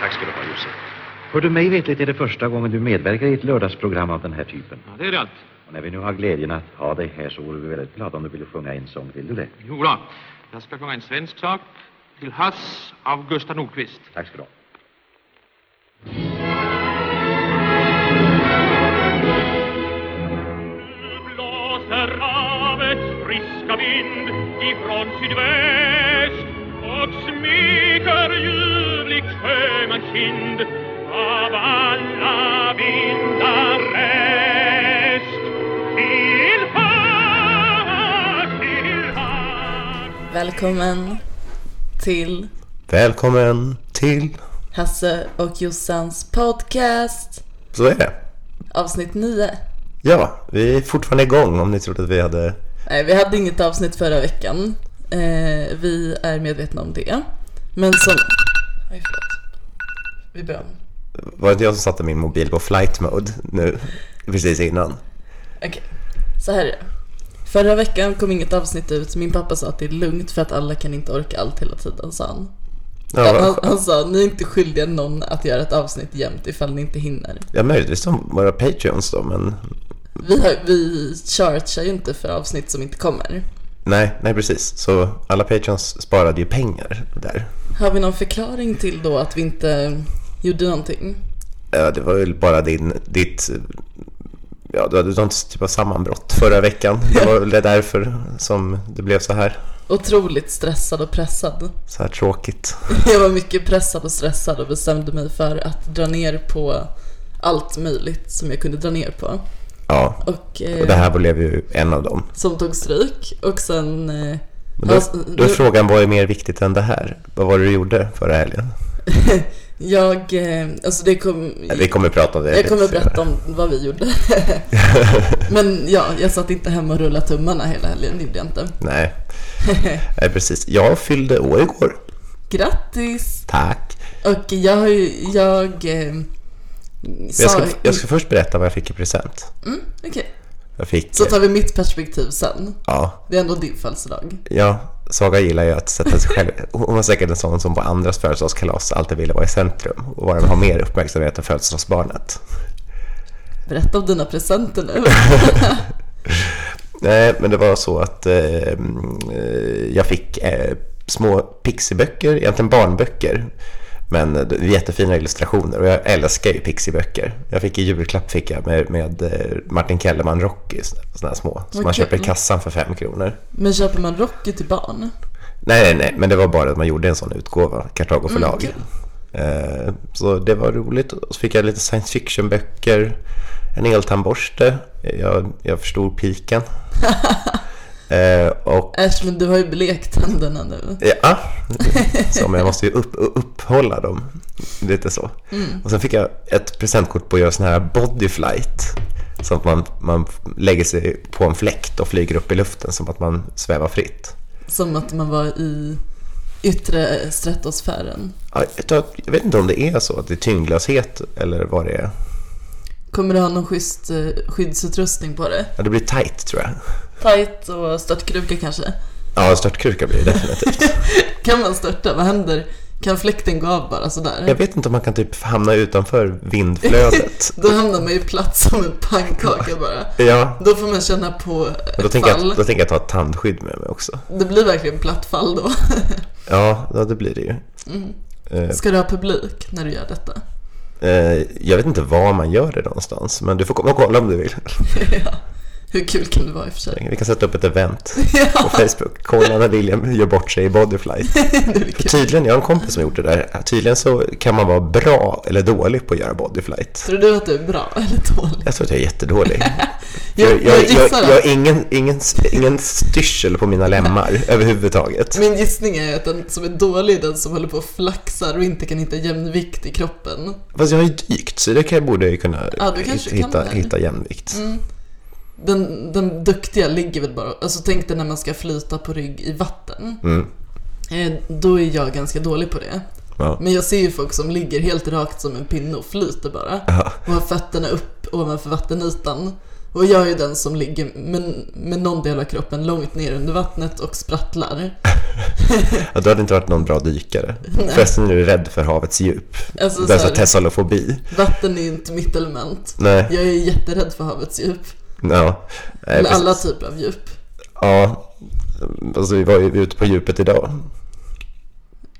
Tack ska du ha, Jussi. För du mig vetligt är det första gången du medverkar i ett lördagsprogram av den här typen. Ja, det är det allt. Och när vi nu har glädjen att ha dig här så vore vi väldigt glada om du ville sjunga en sång. Vill du det? Jo då. Jag ska sjunga en svensk sak. Till havs av Gustav Nordqvist. Tack ska du ha. blåser havets friska vind ifrån sydväst och smeker ljuvligt sjömans kind av alla vindar rest. Till havs, till havs Välkommen till Välkommen till... Hasse och Jossans podcast Så är det. avsnitt 9. Ja, vi är fortfarande igång om ni trodde att vi hade... Nej, vi hade inget avsnitt förra veckan. Eh, vi är medvetna om det. Men som... Oj, förlåt. Vi börjar om. Var det inte jag som satte min mobil på flight mode nu precis innan? Okej, så här är det. Förra veckan kom inget avsnitt ut. Min pappa sa att det är lugnt för att alla kan inte orka allt hela tiden, sa han. Ja, Han, han sa, ni är inte skyldiga någon att göra ett avsnitt jämt ifall ni inte hinner. ja möjligtvis de våra patreons då, men Vi, har, vi chargear ju inte för avsnitt som inte kommer. nej, nej precis. Så alla patreons sparade ju pengar där. Har vi någon förklaring till då att vi inte gjorde någonting? Ja, det var väl bara din, ditt... Ja, du hade någon typ av sammanbrott förra veckan. Det var väl det därför som det blev så här. Otroligt stressad och pressad. Så här tråkigt. Jag var mycket pressad och stressad och bestämde mig för att dra ner på allt möjligt som jag kunde dra ner på. Ja, Och, eh, och det här blev ju en av dem. Som tog stryk och sen... Eh, Men då, alltså, då är nu- frågan, vad är mer viktigt än det här? Vad var det du gjorde förra helgen? jag... Eh, alltså det kom... Nej, Vi kommer prata om det Jag kommer att lite berätta om vad vi gjorde. Men ja, jag satt inte hemma och rullade tummarna hela helgen, det gjorde jag inte. Nej. Nej, precis. Jag fyllde år igår. Grattis! Tack. Och jag har ju, jag... Eh, sa, Jag ska, jag ska först berätta vad jag fick i present. Mm, okej. Jag fick... Så tar vi mitt perspektiv sen. Ja, Det är ändå din födelsedag. ja. Saga gillar ju att sätta sig själv... Hon var säkert en sån som på andras födelsedagskalas alltid ville vara i centrum och bara ha mer uppmärksamhet än födelsedagsbarnet. Berätta om dina presenter nu. Nej, men det var så att eh, eh, jag fick eh, små pixieböcker, egentligen barnböcker. Men eh, det är jättefina illustrationer och jag älskar ju pixieböcker. Jag fick i julklapp fick jag med, med eh, Martin Kellerman Rocky, sådana här små. Som Vad man köper i kul. kassan för fem kronor. Men köper man Rocky till barn? Nej, nej, nej, men det var bara att man gjorde en sån utgåva, Kartago Mm, förlag. Eh, Så det var roligt. Och så fick jag lite science fiction-böcker, en eltandborste, jag, jag förstod piken. Eh, och Äsch, men du har ju blekt tänderna nu. Ja, som jag måste ju upp, upphålla dem. Lite så. Mm. Och sen fick jag ett presentkort på att göra sån här bodyflight. Så att man, man lägger sig på en fläkt och flyger upp i luften som att man svävar fritt. Som att man var i yttre stratosfären. Ja, Jag, tror att- jag vet inte om det är så att det är tyngdlöshet eller vad det är. Kommer du ha någon schysst eh, skyddsutrustning på det? Ja, det blir tight tror jag. Tight och störtkruka kanske? Ja, störtkruka blir det definitivt. Kan man störta? Vad händer? Kan fläkten gå av bara Jag sådär? vet inte om man kan typ hamna utanför vindflödet. Då hamnar man ju platt som en pannkaka bara. Ja, Då får man känna på men då ett tänker, fall. jag, då tänker jag ta ett tandskydd med mig också. Det blir verkligen platt fall då. Ja, ja det blir det ju. Mm. Eh, Ska du ha publik när du gör detta? Eh, jag vet inte var man gör det någonstans, men du får komma och kolla om du vill. ja. Hur kul kan det vara i och för sig? Vi kan sätta upp ett event på Ja, Facebook. Kolla när William gör bort sig i bodyflight. det blir För kul. tydligen, jag har en kompis som har gjort det där. Tydligen så kan man vara bra eller dålig på att göra bodyflight. Tror du att du är bra eller dålig? Jag tror att jag är jättedålig. Jag, jag jag, gissar jag att har ingen, ingen, ingen styrsel på mina lemmar överhuvudtaget. min gissning är att den som är dålig är den som håller på och flaxar och inte kan hitta jämnvikt i kroppen. Fast jag har ju dykt, så det kan, borde jag ju kunna Ja, du kanske kan hitta, det. Mm. hitta jämvikt. Den, den duktiga ligger väl bara... Alltså tänk dig när man ska flyta på rygg i vatten. Mm. Eh, Då är jag ganska dålig på det. Ja. Men jag ser ju folk som ligger helt rakt som en pinne och flyter bara. Ja. Och har fötterna upp ovanför vattenytan. Och jag är ju den som ligger med, med någon del av kroppen långt ner under vattnet och sprattlar. Ja, du hade inte varit någon bra dykare. Förresten är du rädd för havets djup. Alltså, det är så så här- här tessalofobi. Vatten är ju inte mitt element. Nej, Jag är jätterädd för havets djup. ja. Nej, Eller precis. alla typer av djup. Ja, alltså vi var ju ute på djupet idag.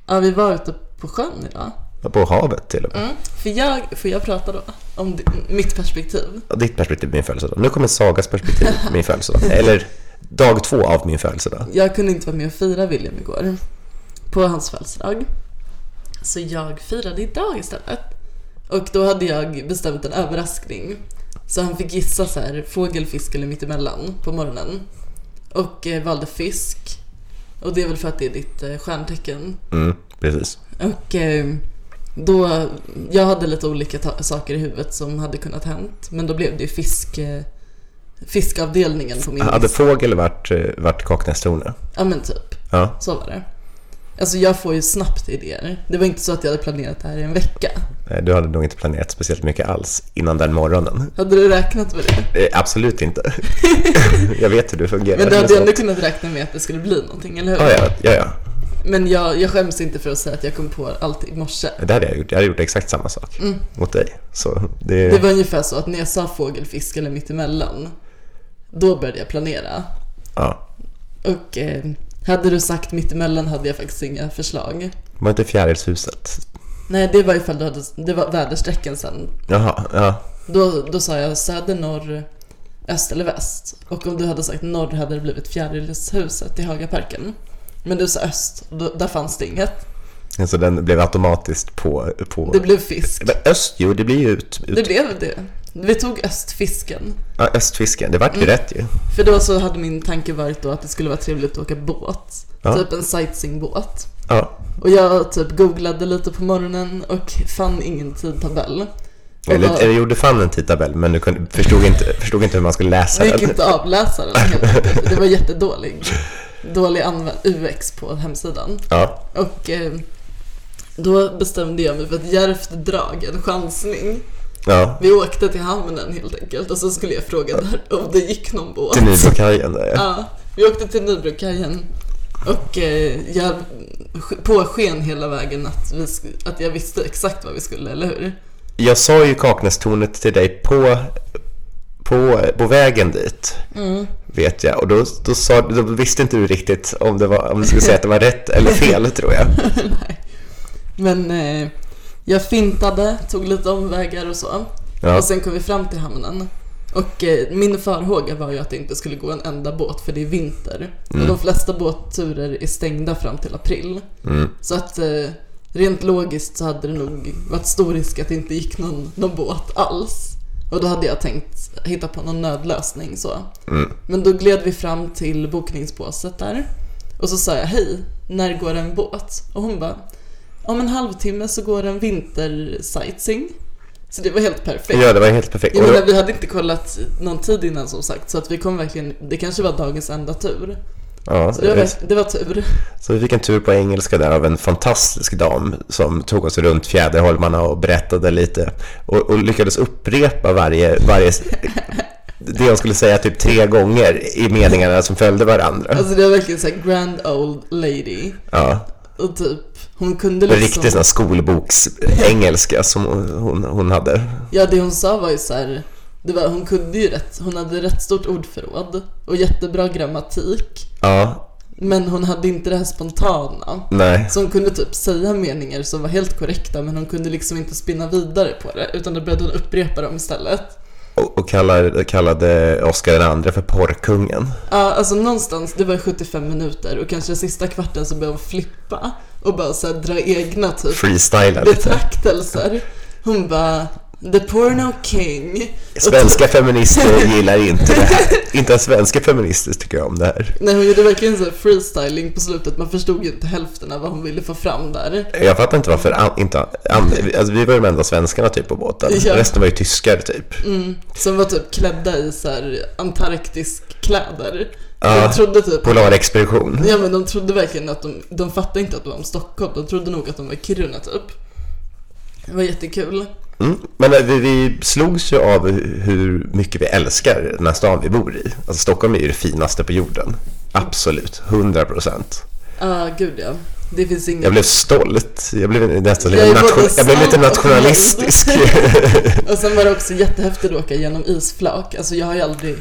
Ja, vi var ute på sjön idag. På havet till och med. Mm. Får, jag, får jag prata då? Om di- mitt perspektiv? Ja, Ditt perspektiv är min födelsedag. Nu kommer Sagas perspektiv, min födelsedag. Eller dag två av min födelsedag. Jag kunde inte vara med och fira William igår på hans födelsedag. Så jag firade idag istället. Och då hade jag bestämt en överraskning. Så han fick gissa så här, fågel, fisk eller mittemellan på morgonen. Och eh, valde fisk. Och det är väl för att det är ditt eh, stjärntecken. Mm, precis. Och eh, då, jag hade lite olika ta- saker i huvudet som hade kunnat hänt. Men då blev det ju fisk, eh, fiskavdelningen på min Hade lista. fågel varit, eh, varit Kaknästornet? Ja men typ. Ja. Så var det. Alltså jag får ju snabbt idéer. Det var inte så att jag hade planerat det här i en vecka. Nej, Du hade nog inte planerat speciellt mycket alls innan den morgonen. Hade du räknat med det? Eh, Absolut inte. jag vet hur du fungerar. Men du med hade ju sånt. ändå kunnat räkna med att det skulle bli någonting, eller hur? Ja, ja, ja, ja. Men jag, jag skäms inte för att säga att jag kom på allt i morse. Det hade jag gjort. Jag hade gjort exakt samma sak mot dig. Så det, Mm. Det var ungefär så att när jag sa fågel, fisk eller mittemellan, då började jag planera. ja. Och eh, hade du sagt mittemellan hade jag faktiskt inga förslag. var inte Fjärilshuset. Nej, det var ifall du hade, det var väderstrecken sen. Jaha, ja. Då, då sa jag söder, norr, öst eller väst. Och om du hade sagt norr hade det blivit Fjärilshuset i Hagaparken. Men du sa öst, och då, där fanns det inget. Så den blev automatiskt på... på... Det blev fisk. Men öst, jo, det blir ju ut, ut... Det blev det. Vi tog östfisken. Ja, östfisken. Det vart Mm. ju rätt ju. För då så hade min tanke varit då att det skulle vara trevligt att åka båt. Ja. Typ en sightseeingbåt. Ja. Och jag typ googlade lite på morgonen och fann ingen tidtabell. Och Eller, var- eller jo, du fann en tidtabell, men du kunde, förstod, inte, förstod inte hur man skulle läsa Jag gick den. inte att avläsa den helt enkelt. Det var jättedålig. Dålig använd UX på hemsidan. Ja, Och eh, då bestämde jag mig för ett djärvt drag, en chansning. ja. Vi åkte till hamnen helt enkelt och så skulle jag fråga där om det gick någon båt. Till Nybrokajen där ja. Ja, vi åkte till Nybrokajen. Och eh, jag påsken hela vägen att, vi, sk- att jag visste exakt vad vi skulle, eller hur? Jag sa ju Kaknästornet till dig på, på, på vägen dit. Mm. Vet jag. Och då, då, sa, då visste inte du riktigt om, det var, om du skulle säga att det var rätt eller fel, tror jag. Men eh, jag fintade, tog lite omvägar och så. Ja. Och sen kom vi fram till hamnen. Och eh, min farhåga var ju att det inte skulle gå en enda båt för det är vinter. Och de flesta båtturer är stängda fram till april. Så att eh, rent logiskt så hade det nog varit stor risk att det inte gick någon, någon båt alls. Och då hade jag tänkt hitta på någon nödlösning så. Men då gled vi fram till bokningsbåset där. Och så sa jag hej, när går en båt? Och hon bara om en halvtimme så går en vintersightseeing. Så det var helt perfekt. ja, det var helt perfekt. Jag Och menar, då, vi hade inte kollat någon tid innan som sagt, så att vi kom verkligen, det kanske var dagens enda tur. ja, Så det var, verk- det var tur. Så vi fick en tur på engelska där av en fantastisk dam som tog oss runt Fjäderholmarna och berättade lite och, och lyckades upprepa varje, varje det jag skulle säga typ tre gånger i meningarna som följde varandra. Alltså det var verkligen såhär grand old lady. Ja, Och typ, hon kunde en liksom... riktig sån här skolboksengelska som hon, hon, hon hade. Ja, det hon sa var ju så här, det var, hon kunde ju rätt, hon hade rätt stort ordförråd och jättebra grammatik. Ja, Men hon hade inte det här spontana. nej. Så hon kunde typ säga meningar som var helt korrekta men hon kunde liksom inte spinna vidare på det utan då började hon upprepa dem istället. Och, och kallade, kallade Oscar den andra för porrkungen. Ja, alltså någonstans, det var 75 minuter och kanske sista kvarten så började hon flippa och bara så här, dra egna typ Freestyla lite. betraktelser. Hon bara “The porno king”. Svenska feminister gillar inte det här. Inte ens svenska feminister tycker om det här. Nej, hon gjorde verkligen så här freestyling på slutet. Man förstod ju inte hälften av vad hon ville få fram där. Jag fattar inte varför an, inte, an, alltså vi var ju de enda svenskarna typ på båten. Ja. Resten var ju tyskar typ. Som var typ klädda i så här antarktisk kläder. Ja. Jag trodde typ Polarexpedition. Ja men de trodde verkligen att de, de fattade inte att det var om Stockholm, de trodde nog att de var i Kiruna typ. Det var jättekul. Mm. Men eh, vi, vi slogs ju av hu- hur mycket vi älskar den här stan vi bor i. Alltså Stockholm är ju det finaste på jorden. Absolut, 100 procent. Ja, gud ja. Det finns inget. Jag blev stolt. Jag blev nästan Jag lite, är både nation... jag blev lite stolt och nationalistisk. Och sen var det också jättehäftigt att åka genom isflak. Alltså jag har ju aldrig...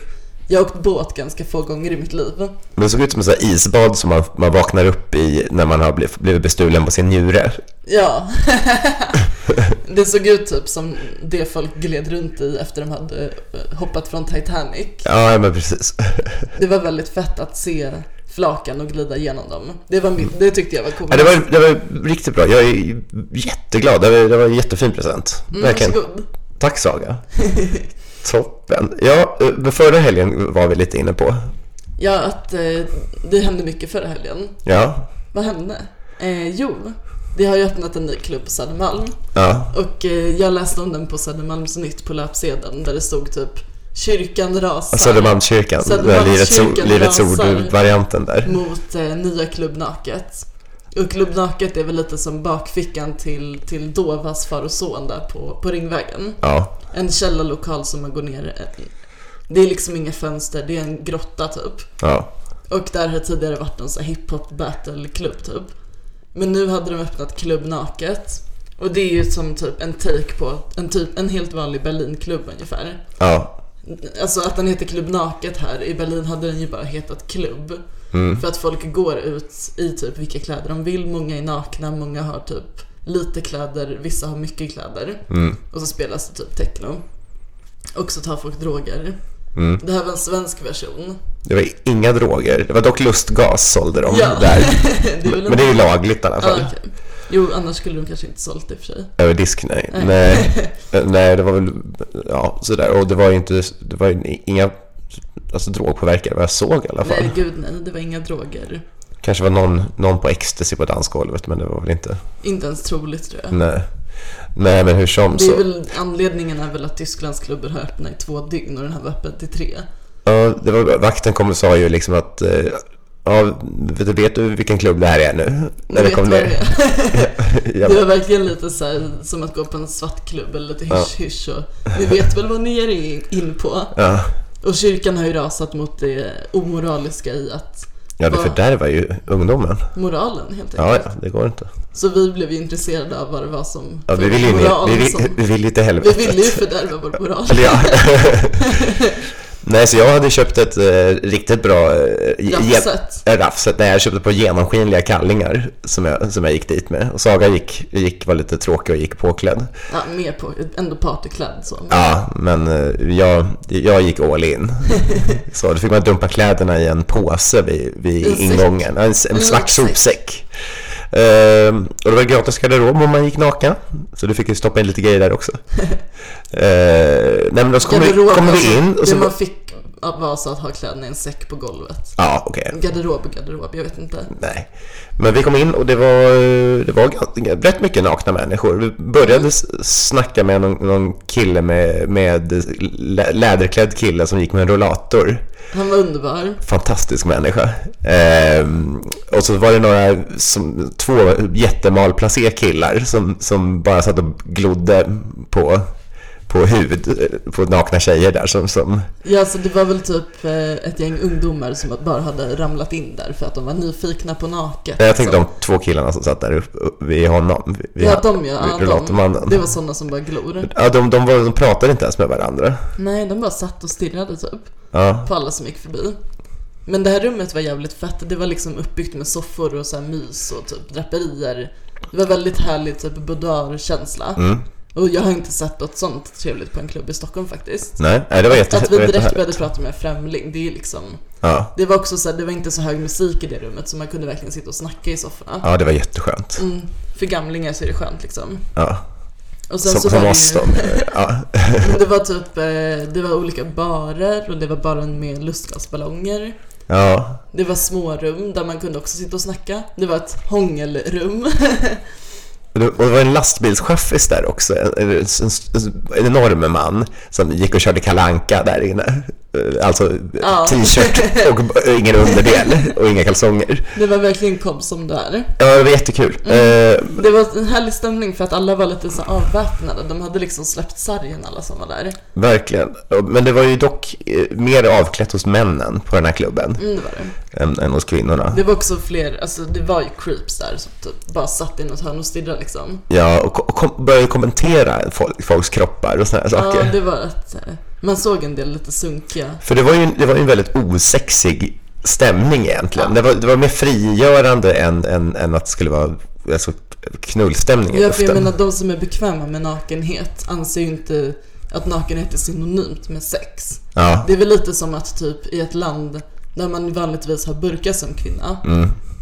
Jag har åkt båt ganska få gånger i mitt liv. Men det såg ut som en sån här isbad som man, man vaknar upp i när man har bliv- blivit bestulen på sin njure. Ja. det såg ut typ som det folk gled runt i efter de hade eh, hoppat från Titanic. Ja, men precis. Det var väldigt fett att se flaken och glida igenom dem. Det, var mitt, det tyckte jag var coolt. Ja, det, var, det var riktigt bra. Jag är jätteglad. Det var, det var en jättefin present. Verkligen. Mm, Varsågod. Tack Saga. Toppen. Ja, eh, men förra helgen var vi lite inne på. Ja, att eh, det hände mycket förra helgen. Ja, Vad hände? Eh, jo, det har ju öppnat en ny klubb på Södermalm. ja, Och eh, jag läste om den på Södermalms nytt på löpsedeln där det stod typ Kyrkan rasar Alltså, Södermalmskyrkan. Södermalmskyrkan den Livets, ord- rasar. livets ord-varianten där. mot eh, nya Klubb Naket. Och Klubb Naket är väl lite som bakfickan till, till Dovas far och son där på, på Ringvägen. Ja, En källarlokal som man går ner eh, Det är liksom inga fönster, det är en grotta typ. ja. Och där har tidigare varit en sån här hiphop battle-klubb typ. Men nu hade de öppnat Klubb Naket. Och det är ju som typ en take på en, typ, en helt vanlig Berlinklubb ungefär. ja. Alltså att den heter Klubb Naket här, i Berlin hade den ju bara hetat klubb. Mm. För att folk går ut i typ vilka kläder de vill, många är nakna, många har typ lite kläder, vissa har mycket kläder. Mm. Och så spelas det typ techno. Och så tar folk droger. Mm. Det här var en svensk version. Det var inga droger. Det var dock lustgas sålde de Ja. där. Det är väl en... Men det är ju lagligt i alla Ja, fall. okej. Jo, annars skulle de kanske inte sålt det i och för sig. Över disk, nej. nej. Eh, Nej, det var väl, ja, sådär. Och det var ju inte, det var ju inga, alltså drogpåverkade vad jag såg i alla fall. Nej, gud nej, det var inga droger. Kanske var någon, någon på ecstasy på dansgolvet, men det var väl inte, Inte ens troligt tror jag. nej. Nej, men hur som Det är Mm. så. väl, anledningen är väl att Tysklands klubbar har öppnat i två dygn och den här var öppen till tre. Ja, det var, vakten kom och sa ju liksom att, eh, ja, vet du, vet du vilken klubb det här är nu? När vi Vet kom vad det ner. är. Ja, Det var verkligen lite så här, som att gå på en svartklubb eller lite hysch hysch och vi vet väl vad ni är i- in på. ja, Och kyrkan har ju rasat mot det omoraliska i att ja, det Vad- fördärvar ju ungdomen. moralen helt enkelt. Ja, ja, det går inte. Så vi blev ju intresserade av vad det var som Ja, vi vill ju ner, moral vi vill, som, vi vill ju till vi helvetet. ville ju fördärva vår moral. Eller ja. Nej, så jag hade köpt ett eh, riktigt bra... Eh, ge- Raffset. eh, Raffset. Nej, jag köpte på genomskinliga kallingar som jag, som jag gick dit med. Och Saga gick, gick, var lite tråkig och gick påklädd. Ja, mer på, ändå partyklädd så. Ja, men eh, jag, jag gick all in. Så då fick man dumpa kläderna i en påse vid, En vid säck. ingången. Ja, En, s- en En svart sopsäck. sopsäck. Ehm, och det var gratis garderob om man gick naken. Så du fick ju stoppa in lite grejer där också. Ehm, nej men då så kommer, vi, Garderob, kommer alltså, vi in och det så... man fick var så att ha kläderna i en säck på golvet. Ja, okej. Garderob och garderob, jag vet inte. Nej. Men vi kom in och det var, det var ganska- rätt mycket nakna människor. Vi började s- snacka med någon, någon kille med, med lä- läderklädd kille som gick med en rollator. Han var underbar. fantastisk människa. Ehm, och så var det några, som, två jättemalplacé killar som, som bara satt och glodde på, på hud, eh, på nakna tjejer där som, som Ja, så det var väl typ eh, ett gäng ungdomar som bara hade ramlat in där för att de var nyfikna på naket. jag tänkte Så- de två killarna som satt där uppe vid honom. Vid, Ja, de ja. vid ja de, rullatormannen. det var sådana som bara glor. Ja, de, de, var, de pratade inte ens med varandra. Nej, de bara satt och stirrade typ Ja, på alla som gick förbi. Men det här rummet var jävligt fett. Det var liksom uppbyggt med soffor och så här mys och typ draperier. Det var väldigt härlig typ boudoir-känsla. Mm. Och jag har inte sett något sånt trevligt på en klubb i Stockholm faktiskt. nej, nej, det var jätte, Att det vi var direkt jättehärligt. började prata med en främling, det är ju liksom... Ja, Det var också så här, det var inte så hög musik i det rummet så man kunde verkligen sitta och snacka i sofforna. ja, det var jätteskönt. För gamlingar så är det skönt liksom. Ja, Och sen som, så som var oss det, då. Ja, ju, men det var typ, eh, det var olika barer och det var baren med lustgasballonger. ja, Det var smårum där man kunde också sitta och snacka. Det var ett hångelrum. Och det och det var en lastbilschaffis där också, en, en, en, en enorm man som gick och körde kalanka där inne. eh, Alltså Ja. t-shirt och ingen underdel och inga kalsonger. Det var verkligen kom som det är. Ja, det var jättekul. Eh, Det var en härlig stämning för att alla var lite så avväpnade. De hade liksom släppt sargen alla som var där. Verkligen. Men det var ju dock eh, mer avklätt hos männen på den här klubben Mm, det var det. än, än hos kvinnorna. Det var också fler, alltså det var ju creeps där som typ bara satt i något hörn och stirrade liksom. Ja, och, ko- och kom, började kommentera folk, folks kroppar och såna här saker. Ja, det var att eh, man såg en del lite sunkiga. För det var ju en- det var ju en väldigt osexig stämning egentligen. Det, var, det var mer frigörande än, än, än att det skulle vara alltså, knullstämning i Ja, för jag luften. menar de som är bekväma med nakenhet anser ju inte att nakenhet är synonymt med sex. Ja, Det är väl lite som att typ i ett land där man vanligtvis har burka som kvinna.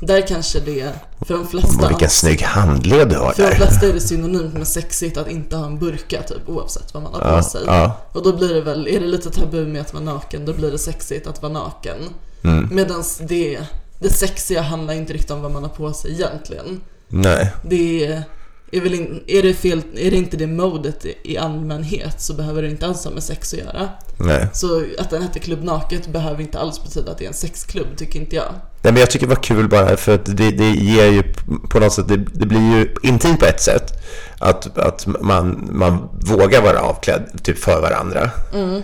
Där kanske det, för de och flesta, vilken snygg handled du har för de där. flesta är det synonymt med sexigt att inte ha en burka typ oavsett vad man har på Ja, sig. ja. Och då blir det väl, är det lite tabu med att vara naken, då blir det sexigt att vara naken. Mm. Medan det, det sexiga handlar inte riktigt om vad man har på sig egentligen. Nej. Det är, är väl in, är det fel, är det inte det modet i- i allmänhet så behöver det inte alls ha med sex att göra. Nej. Så att den hette Klubb Naket behöver inte alls betyda att det är en sexklubb, tycker inte jag. Nej, men jag tycker det var kul bara för att det, det ger ju på något sätt, det, det blir ju intimt på ett sätt. Att, att man, man vågar vara avklädd typ för varandra. Mm.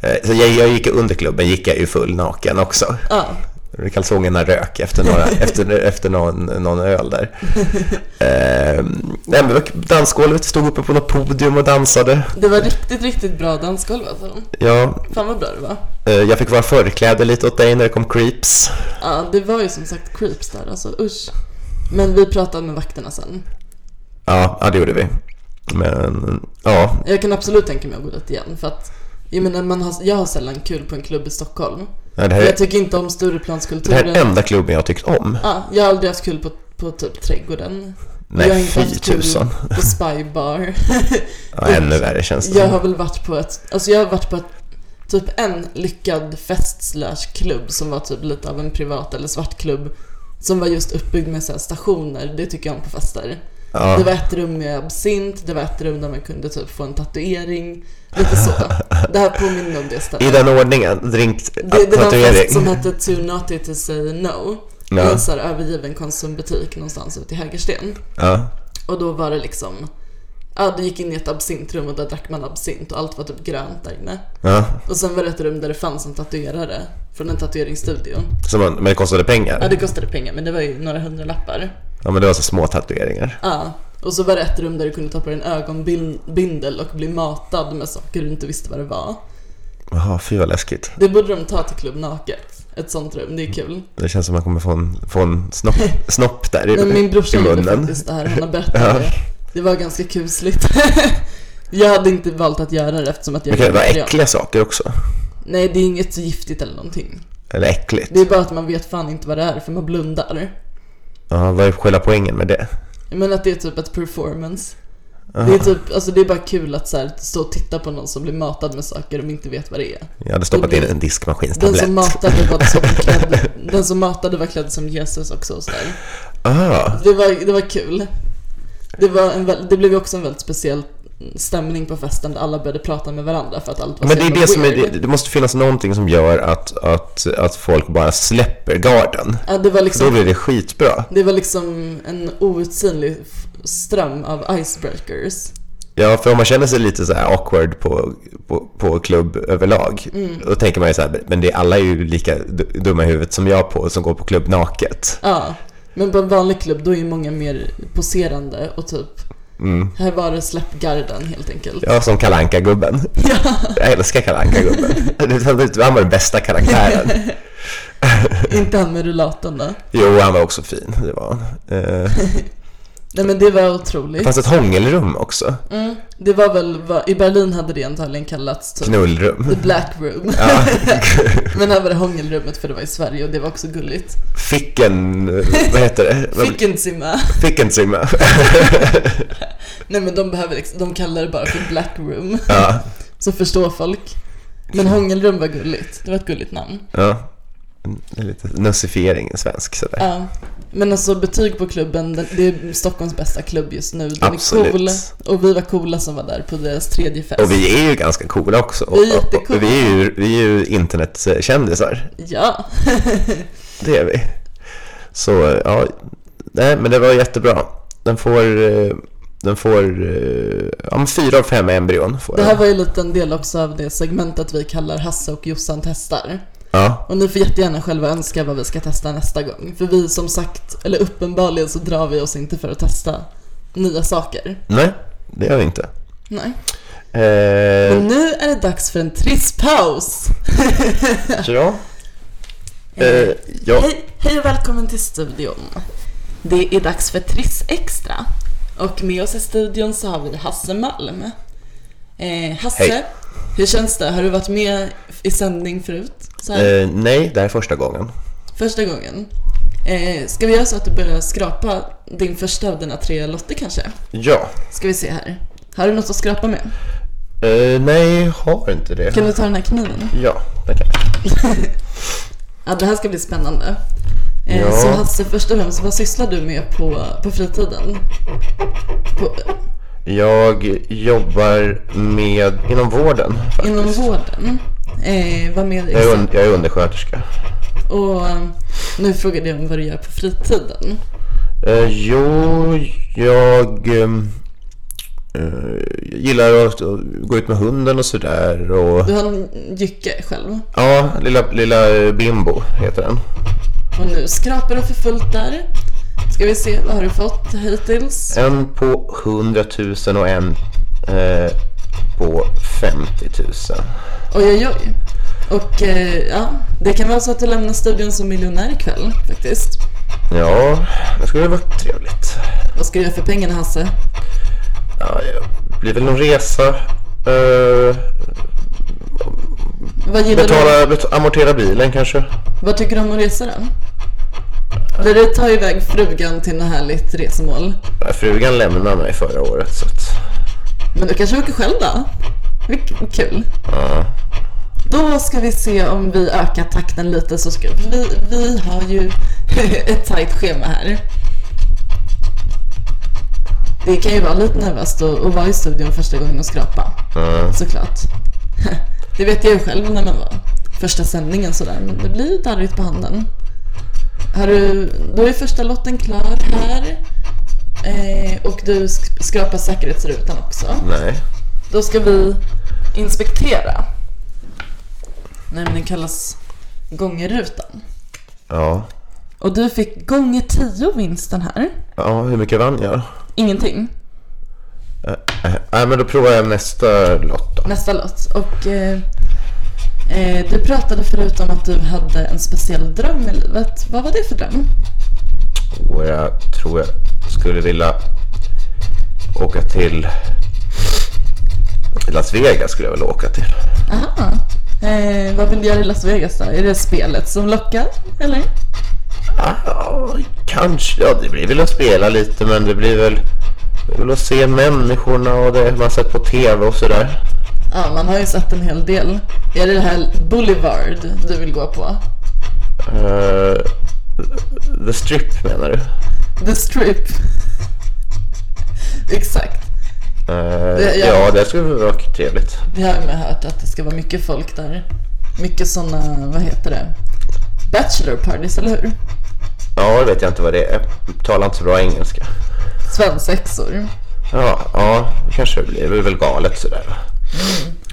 Eh, Så jag, jag gick under klubben, gick jag ju full naken också. Ja, Kalsongerna rök efter, några, efter, efter någon, någon öl där. Eh, nej, men dansgolvet stod uppe på något podium och dansade. det var riktigt, riktigt bra dansgolv alltså. Ja, Fan vad bra det var. eh, jag fick vara förkläde lite åt dig när det kom creeps. Ja, det var ju som sagt creeps där alltså, usch. Men vi pratade med vakterna sen. Ja, ja det gjorde vi. Men ja, Jag kan absolut tänka mig att gå dit igen för att jag menar, man har, jag har sällan kul på en klubb i Stockholm. ja, det här Jag är tycker inte om det här Stureplanskulturen. är enda klubben jag har tyckt om. Ja, jag har aldrig haft kul på, på typ trädgården. Nej, jag har inte fy haft kul tusan. på spybar. Ja, ännu värre känns det Jag som. har väl varit på ett, alltså jag har varit på ett, typ en lyckad fest slash klubb som var typ lite av en privat eller svartklubb som var just uppbyggd med så här stationer, det tycker jag om på fester. Ja. Det var ett rum med absint, det var ett rum där man kunde typ få en tatuering, lite så. Det här påminner om det I stället. den ordningen, drink, Det, det var en fest tatuering. som hette Too Naughty To Say No, i Ja. en så här övergiven konsumbutik någonstans ute i Hägersten. Ja, Och då var det liksom, ja du gick in i ett absintrum och där drack man absint och allt var typ grönt där inne. ja. Och sen var det ett rum där det fanns en tatuerare från en tatueringsstudio. Så man, men det kostade Ja, pengar. det kostade pengar men det var ju några hundra lappar. Ja, men det var så små tatueringar. Ja. Och så var det ett rum där du kunde ta på dig en ögonbindel och bli matad med saker du inte visste vad det var. Jaha, fy vad läskigt. Det borde de ta till Klubb Naket. Ett sånt rum, det är kul. Det känns som man kommer få en, få en snopp, snopp där i, Men min brorsa i gjorde munnen. faktiskt det här, han har berättat det. Det var ganska kusligt. jag hade inte valt att göra det eftersom att jag Det kan ju vara vegetarian. äckliga saker också. Nej, det är inget giftigt eller någonting. Eller äckligt. Det är bara att man vet fan inte vad det är för man blundar. Ja, vad är själva poängen med det? Men att det är typ ett performance. Det är, typ, alltså det är bara kul att så här, stå och titta på någon som blir matad med saker de inte vet vad det är. Jag hade stoppat in en Den som diskmaskinstablett. matade var, som klädd, den som matade var klädd som Jesus också. Och så där. Ah, Det, var, det var kul. Det, var en, väl- det blev ju också en väldigt speciell stämning på festen där alla började prata med varandra för att allt var men så det är jävla det som är, weird. det, det måste finnas någonting som gör att, att, att folk bara släpper garden. Ja, det var För då liksom blir det skitbra. Det var liksom en outsinlig f- ström av icebreakers. Ja, för om man känner sig lite så här awkward på, på, på klubb överlag, Mm. då tänker man ju så här, men det, alla är ju lika du- dumma i huvudet som jag på, som går på klubb naket. Ja. Men på en vanlig klubb då är ju många mer poserande och typ Mm. Här var det släpp garden helt enkelt. Ja, som kalanka gubben Jag älskar kalanka gubben typ- Han var den bästa karaktären. Inte han med rullatorn då. Jo, han var också fin. Det var han. Eh, Nej men det var det otroligt. fanns ett hångelrum också. Mm. Det var väl, vad- i Berlin hade det antagligen kallats typ Knullrum. The Black Room. men här var det hångelrummet för det var i Sverige och det var också gulligt. Ficken... eh, Vad heter det? Fick en simma. Fickensimma. Nej men de behöver liksom, de kallar det bara för Black Room. Ja. Så förstår folk. Men hångelrum var gulligt. Det var ett gulligt namn. ja. en lite nussifiering, en svensk sådär. Ja. Men alltså betyg på klubben, den- det är Stockholms bästa klubb just nu. Den Absolut. är cool. Och vi var coola som var där på deras tredje fest. Och vi är ju ganska coola också. Vi är Och- och- och jättecoola. Vi är ju, vi är ju internetkändisar. Ja. Det är vi. Så ja, nej men det var jättebra. Den får, eh, den får, eh, ja men fyra av fem embryon får Det här den. var ju lite en del också av det segmentet vi kallar Hasse och Jossan testar. Ja, Och ni får jättegärna själva önska vad vi ska testa nästa gång. För vi som sagt, eller uppenbarligen så drar vi oss inte för att testa nya saker. nej det gör vi inte. Nej. Eh, Men nu är det dags för en trisspaus! ja. Eh, ja, Hej, hej och välkommen till studion. Det är dags för Triss Extra. Och med oss i studion så har vi Hasse Malm. Eh, Hasse, Hej. hur känns det? Har du varit med i sändning förut? Så här, eh, nej, det här är första gången. Första gången. Eh, ska vi göra så att du börjar skrapa din första av dina tre lotter kanske? Ja, Ska vi se här. Har du något att skrapa med? eh, nej, har inte det. Kan du ta den här kniven? Ja, det kan jag. Ja, det här ska bli spännande. Eh, Ja. Så Hasse, först och främst, vad sysslar du med på, på fritiden? På, Jag jobbar med, inom vården faktiskt. inom vården? Eh, vad mer Jag är, un, exakt? jag är undersköterska. Och eh, nu frågade jag om vad du gör på fritiden. Eh, jo, jag ehm, eh, gillar att, att gå ut med hunden och sådär. Och, Du har en jycke själv. ja, lilla, lilla Bimbo heter den. Och nu skrapar du för fullt där. Ska vi se, vad har du fått hittills? En på 100 000 och en eh, på 50 000. Oj, oj, oj. Och eh, ja, det kan vara så att du lämnar studion som miljonär ikväll faktiskt. Ja, det skulle vara trevligt. Vad ska du göra för pengarna Hasse? Ja, det blir väl någon resa. Eh, Vad gillar du? betala, bet, amortera bilen kanske. Vad tycker du om att resa då? Blir det ta iväg frugan till något härligt resmål? Ja, Frugan lämnade mig förra året så att... Men du kanske åker själv då? Vilken kul. Då ska vi se om vi ökar takten lite så ska vi, vi har ju ett tajt schema här. Det kan ju vara lite nervöst att, att vara i studion första gången och skrapa. eh, Såklart. Det vet jag ju själv när man var första sändningen sådär, men det blir ju darrigt på handen. Har du, då är första lotten klar här. Eh, och du sk- skrapar säkerhetsrutan också. Nej. Då ska vi inspektera. Nämligen kallas gångerrutan. Ja. Och du fick gånger 10 vinsten här. Ja, hur mycket vann jag? Ingenting. Eh, Nej, men då provar jag nästa lott då. Nästa låt. Och eh, eh, du pratade förut om att du hade en speciell dröm i livet. Vad var det för dröm? Och jag tror jag skulle vilja åka till Las Vegas skulle jag vilja åka till. Aha. Eh, vad vill du göra i Las Vegas då? Är det spelet som lockar? Eller? Ja, kanske. Ja, det blir väl att spela lite men det blir väl, det blir väl att se människorna och det man sett på TV och sådär. Ja, man har ju sett en hel del. Är det det här Boulevard du vill gå på? Eh, the Strip menar du? The Strip. Exakt. Eh, Det- ja. ja, det skulle väl vara trevligt. Det har jag hört att det ska vara mycket folk där. Mycket sådana, vad heter det? Bachelor parties, eller hur? Ja, det vet jag inte vad det är. Jag talar inte så bra engelska. Svensexor. Ja, ja kanske det blir. Det är väl galet sådär.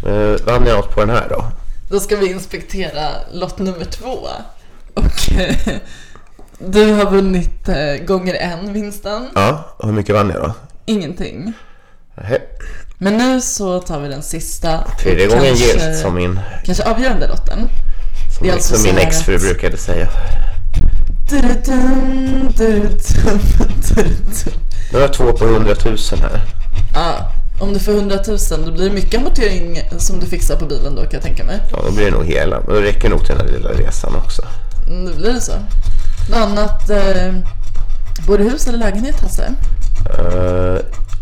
Mm. vann jag något på den här då? Då ska vi inspektera lott nummer två. Och eh, du har vunnit eh, gånger en vinsten. Ja, och hur mycket vann jag då? Ingenting. Nähä. Men nu så tar vi den sista. Tredje och gången kanske- gillt som min, Kanske avgörande lotten. som, Det är min- alltså som min så här exfru att- brukade säga. Du-du-dum, du-du-dum, du-du-dum. Nu har jag två på 100 000 här. Ja, om du får 100 000 då blir det mycket amortering som du fixar på bilen då kan jag tänka mig. Ja, då blir det nog hela. Men det räcker nog till den här lilla resan också. Mm, Nu blir det så. Något annat? Eh, bor du i hus eller lägenhet Hasse? Eh,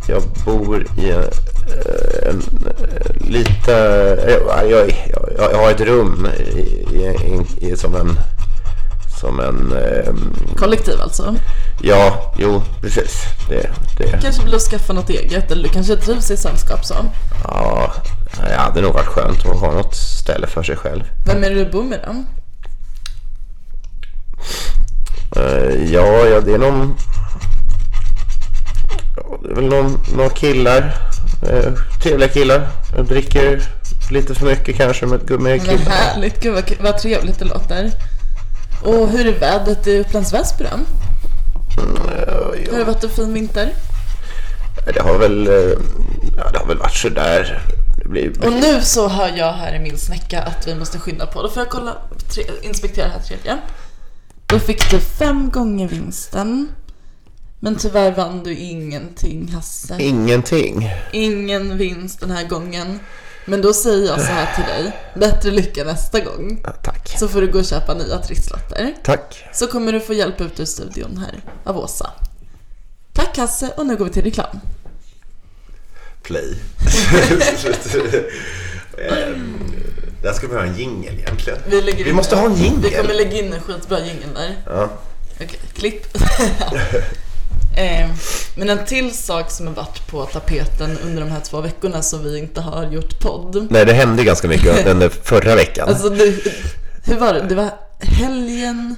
jag bor i eh, en eh, lite... Jag, jag, jag, jag har ett rum i, i, i, i som en som en... Eh, Kollektiv alltså. ja, jo, precis. Det, det. Kanske vill du skaffa något eget eller du kanske trivs i sällskap så. Ja, det hade nog varit skönt att ha något ställe för sig själv. Vem är det du bor med då? Eh, ja, ja, det är någon... Ja, det är väl någon, någon killar. Eh, trevliga killar. Jag dricker lite för mycket kanske med, med Vad killar. härligt, gud vad, vad trevligt det låter. Och hur är vädret i Upplands Väsby då? Har det varit en fin vinter? Det har väl, eh, ja, det har väl varit sådär. Det blir, Och nu så hör jag här i min snäcka att vi måste skynda på. Då får jag kolla, tre, inspektera här tredje. Då fick du fem gånger vinsten. Men tyvärr vann du ingenting Hasse. Ingenting. Ingen vinst den här gången. Men då säger jag så här till dig. Bättre lycka nästa gång. Ja, Tack. Så får du gå och köpa nya trisslotter. Tack. Så kommer du få hjälp ut ur studion här av Åsa. Tack Hasse och nu går vi till reklam. Play. Ehm, Där ska vi ha en jingel egentligen. Vi, lägger Vi in- måste ha en Vi kommer jingel. lägga in en skitbra jingel där. Ja. Okej, klipp. eh, men en till sak som har varit på tapeten under de här två veckorna som vi inte har gjort podd. Nej, det hände ganska mycket under förra veckan. Alltså, det, hur var det? Det var helgen,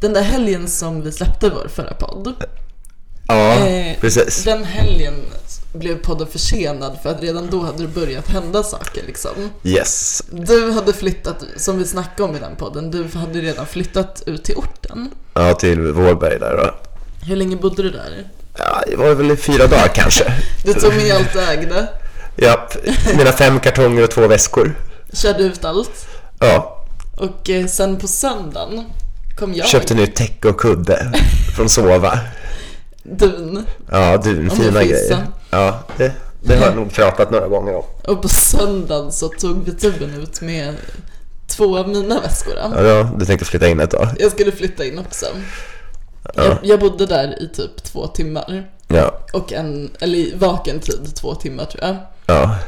den där helgen som vi släppte vår förra podd. ja, eh, precis. Den helgen blev podden försenad för att redan då hade det börjat hända saker liksom. Yes. Du hade flyttat, som vi snackade om i den podden, du hade redan flyttat ut till orten. Ja, till Vårberg där då. Hur länge bodde du där? Ja, det var väl i fyra dagar kanske. Du tog med allt du ägde, Ja, mina fem kartonger och två väskor. körde ut allt. Ja, Och eh, sen på söndagen kom jag. köpte nu täcke och kudde från Sova. Dun. Ja, dun, Om fina jag får grejer. gissa. Ja, det, det har jag nog pratat några gånger om. Och på söndagen så tog vi tuben ut med två av mina väskor. Ja, då, du tänkte flytta in ett tag? Jag skulle flytta in också. Jag, jag bodde där i typ två timmar. Ja, Och en, eller i vaken tid två timmar tror jag. ja,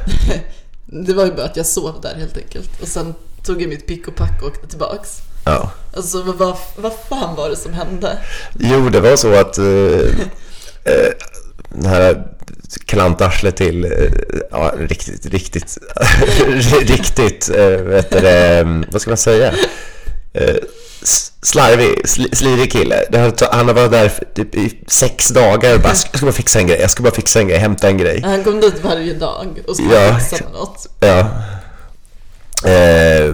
Det var ju bara att jag sov där helt enkelt. Och sen tog jag mitt pick och pack och åkte tillbaks. ja. Alltså vad, vad, vad fan var det som hände? Jo, det var så att eh, eh, det här klantarslet till, eh, ja, riktigt, riktigt, riktigt, eh, vet du, det, mm, vad ska man säga? Eh, s- slarvig, sli- slirig kille. Det här, han var där för, typ, i sex dagar och bara, jag ska bara fixa en grej, jag ska bara fixa en grej, hämta en grej. Han kom dit varje dag och skulle Ja. fixa med något. Ja. Eh,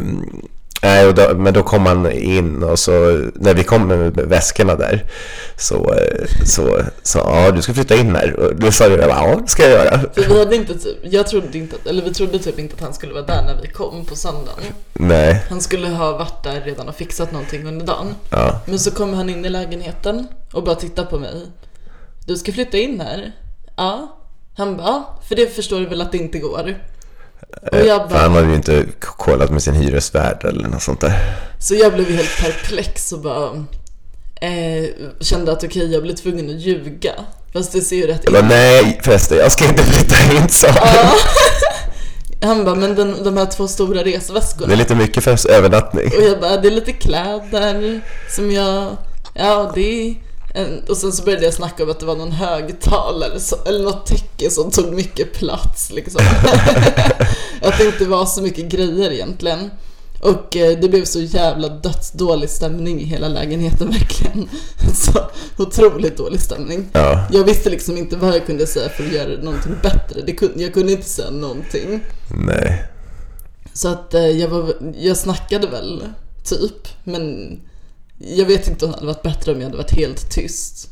nej, och då, men då kom han in och så när vi kom med väskorna där så eh, så så ja, du ska flytta in här. Och då sa jag ja, det ska jag göra. För vi hade inte typ, jag trodde inte att, eller vi trodde typ inte att han skulle vara där när vi kom på söndagen. Nej, Han skulle ha varit där redan och fixat någonting under dagen. ja, Men så kommer han in i lägenheten och bara tittar på mig. Du ska flytta in här? Ja. Han bara, "Ja, för det förstår du väl att det inte går. Och jag för han bara, hade ju inte k- kollat med sin hyresvärd eller något sånt där. så jag blev ju helt perplex och bara eh, kände att okej, jag blir tvungen att ljuga. Fast det ser ju rätt Jag bara, nej förresten, jag ska inte flytta in så. Han bara, men den, de här två stora resväskorna. Det är lite mycket för övernattning. Och jag bara, det är lite kläder som jag, ja det är en, och sen så började jag snacka om att det var någon högtalare så, eller något täcke som tog mycket plats liksom. att det inte var så mycket grejer egentligen. Och eh, det blev så jävla dödsdålig stämning i hela lägenheten verkligen. Så otroligt dålig stämning. Ja, Jag visste liksom inte vad jag kunde säga för att göra någonting bättre. Det kunde, jag kunde inte säga någonting. nej. Så att eh, jag, var, jag snackade väl, typ. Men jag vet inte om det hade varit bättre om jag hade varit helt tyst.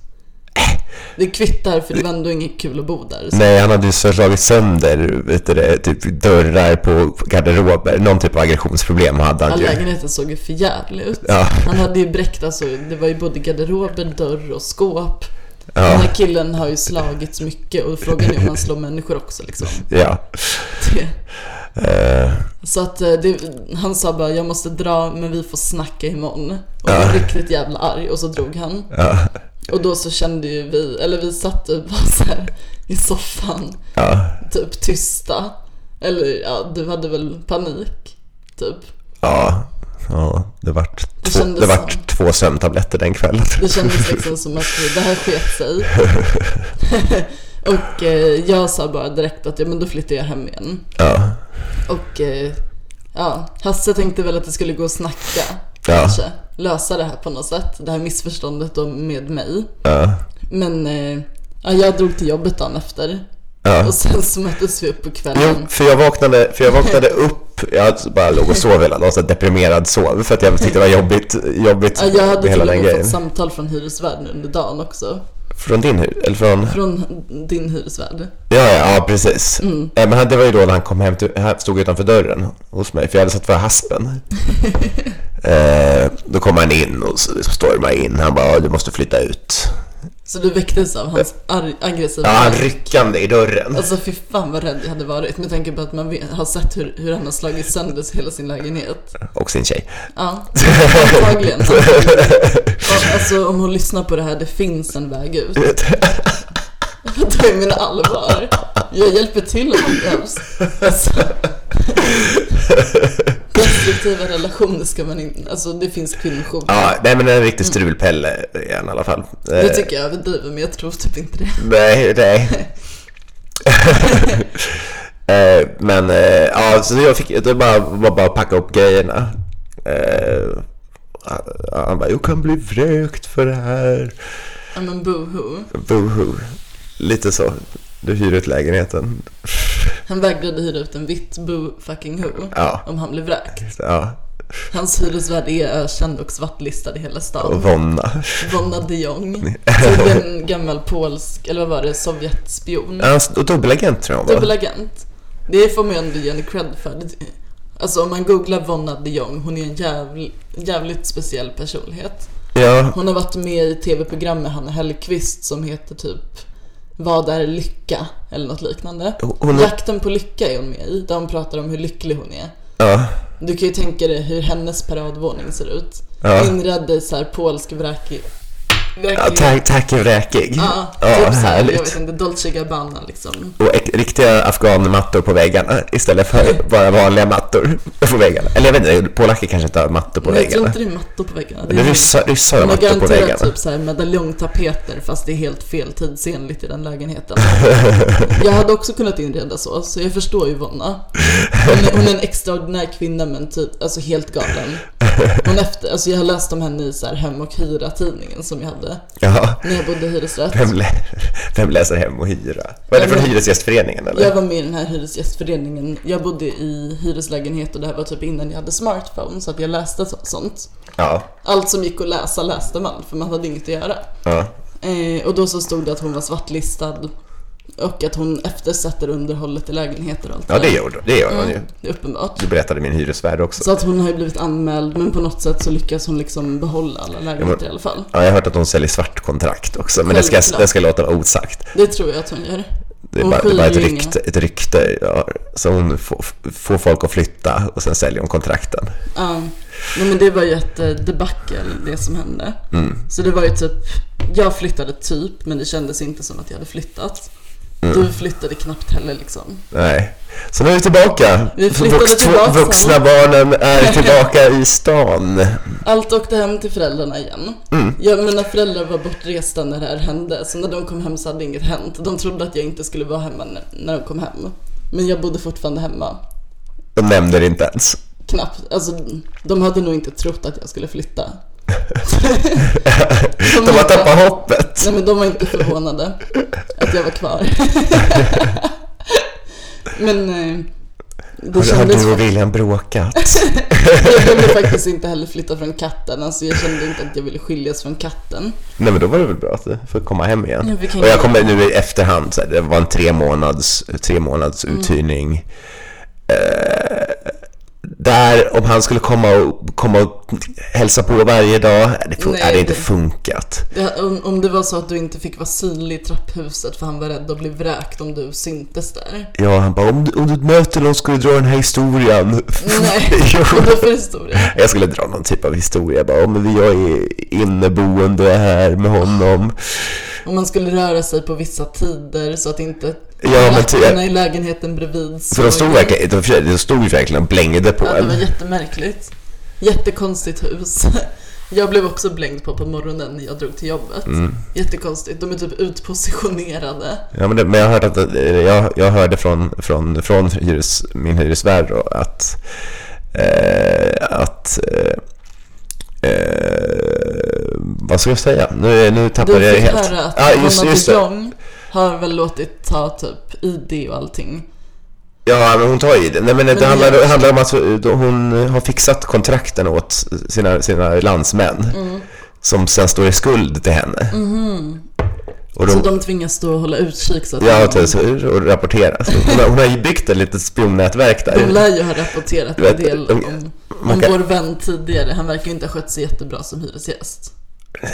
Det kvittar för det var ändå inget kul att bo där. Så Nej, han hade ju slagit sönder vet du, det, typ dörrar på garderober. Någon typ av aggressionsproblem hade han all ju. lägenheten såg ju för jävlig ut. Ja. Han hade ju bräckt, alltså, det var ju både garderober, dörr och skåp. Den Ja, här killen har ju slagits mycket och frågan är om han slår människor också liksom. ja. Det. Eh, Så att eh, det, han sa bara jag måste dra men vi får snacka imorgon. Och jag var riktigt jävla arg och så drog han. ja, Och då så kände ju vi, eller vi satt typ bara så här i soffan, ja, typ tysta. Eller ja, du hade väl panik, typ. ja. Ja, det vart Det två, kändes det vart två sömntabletter den kvällen. Det kändes liksom som att det här sket sig. och eh, jag sa bara direkt att ja, men då flyttar jag hem igen. Ja, Och eh, ja, Hasse tänkte väl att det skulle gå att snacka. Ja. Kanske lösa det här på något sätt. Det här missförståndet då med mig. ja, Men eh, ja, jag drog till jobbet dagen efter. ja. Och sen så möttes vi upp på Jo, kvällen. för jag vaknade, för jag vaknade upp, jag bara låg och sov hela dagen, så här deprimerad sov, för att jag tyckte det var jobbigt, jobbigt Ja, jag hade med till hela och den med fått grejen. samtal från hyresvärden under dagen också. Från din hu- eller från, Från din hyresvärd. ja, ja, ja precis. Mm. Eh, Men han- det var ju då när han kom hem, till, han stod utanför dörren hos mig, för jag hade satt för haspen. eh, då kom han in och så stormade in, han bara, "Ja, du måste flytta ut. Så du väcktes av hans arg- aggressiva... Ja, han ryckande i dörren. Alltså fy fan vad rädd jag hade varit med tanke på att man vet, har sett hur, hur han har slagit sönder hela sin lägenhet. Och sin tjej. Ja, antagligen. Och, alltså om hon lyssnar på det här, det finns en väg ut. Det är min allvar. Jag hjälper till om det behövs. Alltså, destruktiva relationer ska man inte... Alltså det finns kvinnojourer. Ja, nej men en riktig strulpelle är han i alla fall. Eh, Det tycker jag överdriver, men jag tror typ inte det. Nej, nej. Eh, men eh, ja, så jag fick, det bara, var bara att packa upp grejerna. Eh, han bara, jag kan bli vräkt för det här. Ja men boho. Boho. Lite så. Du hyr ut lägenheten. Han vägrade hyra ut en vitt boo fucking ho Ja. om han blev vräkt. Ja, Hans hyresvärd är ökänd och svartlistad i hela och stan. vonna. Vonna de Jong. Tydligen en gammal polsk, eller vad var det, sovjetspion. Ja, s- och dubbelagent tror jag hon var. Dubbelagent. Det får man ju ändå ge henne cred för. Det- Alltså om man googlar Vonna de Jong, hon är en jävl, jävligt speciell personlighet. Ja, Hon har varit med i tv-program med Hanna Hellquist som heter typ Vad är lycka? Eller något liknande. Hon är- Jakten på lycka är hon med i, där hon pratar om hur lycklig hon är. ja, Du kan ju tänka dig hur hennes paradvåning ser ut. Ja. Inredd i så här polsk vräkig... ja vräkig- tack, tack är vräkig. Ja, ja typ så här, jag vet härligt. inte, Dolce Gabbana liksom. Och ek- riktiga afghanmattor på väggarna istället Mm. för bara vanliga mattor på väggarna. Eller jag vet inte, polacker kanske inte har mattor på Men jag tror väggarna. inte det är mattor på väggarna. Men ryssar, ryssar har de har mattor på garanterat väggarna. typ så här medaljongtapeter fast det är helt fel tidsenligt i den lägenheten. Jag hade också kunnat inreda så, så jag förstår ju Vonna. Hon är, hon är en extraordinär kvinna men typ, alltså helt galen. Hon efter, alltså jag har läst om henne i så här Hem och Hyra-tidningen som jag hade Ja, när jag bodde i hyresrätt. vem, lä- vem läser hem och hyra? Var det Ja, från men- Hyresgästföreningen eller? Jag var med i den här hyresgästföreningen. Jag bodde i hyreslägenhet och det här var typ innan jag hade smartphone så att jag läste så- sånt. Ja, Allt som gick att läsa läste man för man hade inget att göra. ja, Eh, och då så stod det att hon var svartlistad och att hon eftersätter underhållet i lägenheter och allt ja det där. gör du. Det gör man ju. Det är Uppenbart. Det berättade min hyresvärd också. Mm. Så att hon har ju blivit anmäld men på något sätt så lyckas hon liksom behålla alla lägenheter i alla fall. Ja, jag har hört att hon säljer svartkontrakt också, men det ska, Självklart. det ska låta vara osagt. Det tror jag att hon gör. Det är Hon bara, det är bara ett skyr ju inga. rykte, ett rykte ja. Så hon får, får folk att flytta och sen säljer hon kontrakten. Ja, nej, men det var ju ett eh, debacle det som hände. Mm. Så det var ju typ, jag flyttade typ men det kändes inte som att jag hade flyttat. Mm. Du flyttade knappt heller liksom. Nej. Så nu är vi tillbaka. Vi flyttade Vux- tillbaka. Vuxna barnen är tillbaka i stan. Allt åkte hem till föräldrarna igen. Mm. Ja, mina föräldrar var bortresta när det här hände så när de kom hem så hade inget hänt. De trodde att jag inte skulle vara hemma när- när de kom hem. Men jag bodde fortfarande hemma. De nämnde det inte ens. Knappt, alltså de hade nog inte trott att jag skulle flytta. De har tappat Mm. hoppet. Nej men de var inte förvånade att jag var kvar. men eh, det Har, har kändes du och William bråkat? Jag ville faktiskt inte heller flytta från katten. Alltså jag kände inte att jag ville skiljas från katten. Nej men då var det väl bra att du får komma hem Ja, igen. vi kan och ju- jag kommer nu i efterhand, så här, det var en tre månads, tre månads Mm. uthyrning. Eh, där, om han skulle komma och, komma och hälsa på varje dag, det fun- Nej, hade inte det- funkat. Det, om, om det var så att du inte fick vara synlig i trapphuset för han var rädd att bli vräkt om du syntes där. Ja, han bara om, du- om du möter någon ska du dra den här historien. Nej, Jo. vad är det för historia? Jag skulle dra någon typ av historia bara, om jag är inneboende här med honom. Om man skulle röra sig på vissa tider så att inte Ja, men ty- vakterna i lägenheten bredvid För de stod verkligen, de, de stod ju verkligen och blängde på Ja, det var en. jättemärkligt. Jättekonstigt hus. Jag blev också blängd på på morgonen när jag drog till jobbet. Jättekonstigt. De är typ utpositionerade. Mm. Ja, men, det, men jag hörde att eh, jag, jag hörde från, från, från hyres, min hyresvärd då, att, eh, att eh, eh, vad ska jag säga? Nu, nu Du tappade jag det fick helt. höra att typ Ja, just, Hanna just just det. har väl låtit ta typ ID och allting. Ja, men hon tar i det. Nej, men, det det handlar, gör- det handlar om att hon har fixat kontrakten åt sina, sina landsmän. Mm. Som sen står i skuld till henne. Och Mm-hmm. Så de, de tvingas stå och hålla utkik så att ja, de, de... och rapportera. Så Hon, har- hon har ju byggt ett litet spionnätverk där. de lär ju ha rapporterat Du vet, en del de- om, man om kan- vår vän tidigare. Han verkar ju inte ha skött sig jättebra som hyresgäst.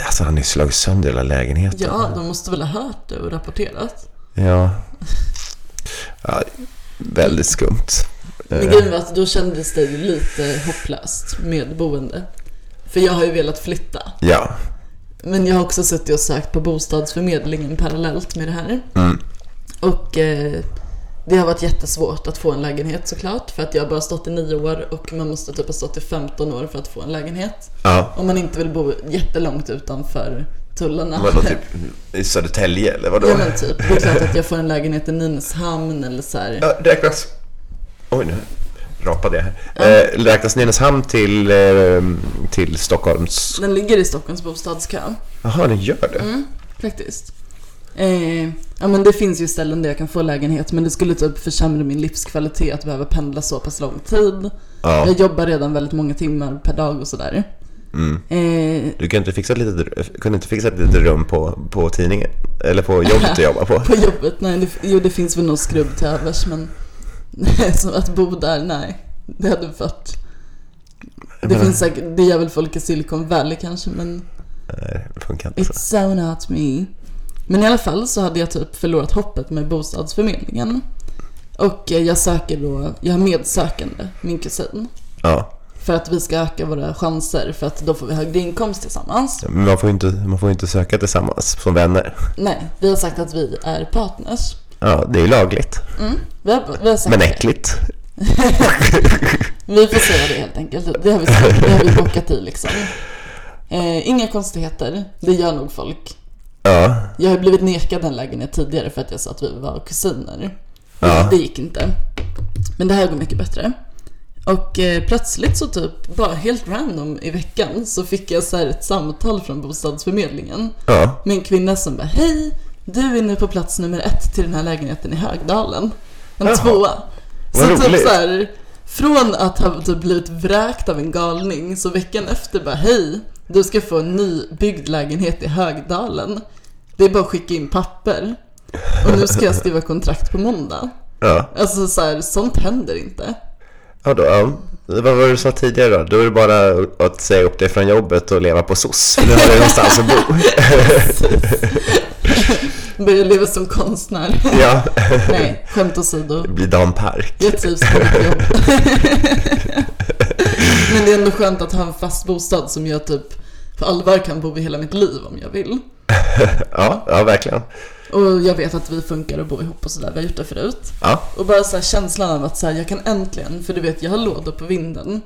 Alltså han har ju slagit sönder hela lägenheten. Ja, de måste väl ha hört det och rapporterat. Ja. ja väldigt skumt. Eh, Men grejen var att då kändes det ju lite hopplöst med boende. För jag har ju velat flytta. Ja. Men jag har också suttit och sökt på bostadsförmedlingen parallellt med det här. Mm. Och eh, det har varit jättesvårt att få en lägenhet såklart. För att jag har bara stått i nio år och man måste typ ha stått i 15 år för att få en lägenhet. ja. Om man inte vill bo jättelångt utanför tullarna. Vadå, typ i Södertälje eller vadå? Ja men typ. Det är klart att jag får en lägenhet i Nynäshamn eller så här. Ja, räknas... Oj, nu rapade jag här. Eh, räknas Nynäshamn till, eh, till Stockholms... Den ligger i Stockholms bostadskö. Jaha, den gör det? Mm. Faktiskt. Eh, ja men det finns ju ställen där jag kan få lägenhet men det skulle typ försämra min livskvalitet att behöva pendla så pass lång tid. Ja. Jag jobbar redan väldigt många timmar per dag och sådär. Eh, Du kunde inte fixa ett litet, kunde inte fixa ett litet rum på, på tidningen? Eller på jobbet du jobbar på? på jobbet, nej det, jo det finns väl någon skrubb till övers men som att bo där, nej. Det hade varit... Det finns säkert, det gör väl folk i Silicon Valley kanske men Nej, det funkar inte så. It's so not me. Men i alla fall så hade jag typ förlorat hoppet med bostadsförmedlingen. Och eh, jag söker då, jag har medsökande, min kusin. Ja. För att vi ska öka våra chanser för att då får vi högre inkomst tillsammans. Men man får ju inte, man får ju inte söka tillsammans som vänner. Nej, vi har sagt att vi är partners. Ja, det är ju lagligt. Vi har, vi har sagt Men det. äckligt. Vi får säga det helt enkelt. Det har vi, sagt, det har vi bockat i liksom. Eh, inga konstigheter, det gör nog folk. Ja. Jag har blivit nekad en lägenhet tidigare för att jag sa att vi var kusiner. Ja. Det gick inte. Men det här går mycket bättre. Och eh, plötsligt så typ, bara helt random i veckan, så fick jag så här ett samtal från bostadsförmedlingen. Ja. Med en kvinna som bara, hej, du är nu på plats nummer ett till den här lägenheten i Högdalen. En Jaha. tvåa. Så Vad typ roligt. så här, från att ha typ blivit vräkt av en galning, så veckan efter bara, hej, du ska få en nybyggd lägenhet i Högdalen. Det är bara att skicka in papper. Och nu ska jag skriva kontrakt på måndag. Ja. Alltså så här, sånt händer inte. Ja, då, ja. Vad var det du sa tidigare då? Då är det bara att säga upp dig från jobbet och leva på SOS. För nu har du någonstans att bo. Börja leva som konstnär. Ja. Nej, skämt åsido. Bli Dan Park. Jag trivs på mitt jobb. Men det är ändå skönt att ha en fast bostad som jag typ på allvar kan bo i hela mitt liv om jag vill. Ja, ja verkligen. Och jag vet att vi funkar och bor ihop och sådär, vi har gjort det förut. Ja. Och bara så här känslan av att så här, jag kan äntligen, för du vet jag har lådor på vinden.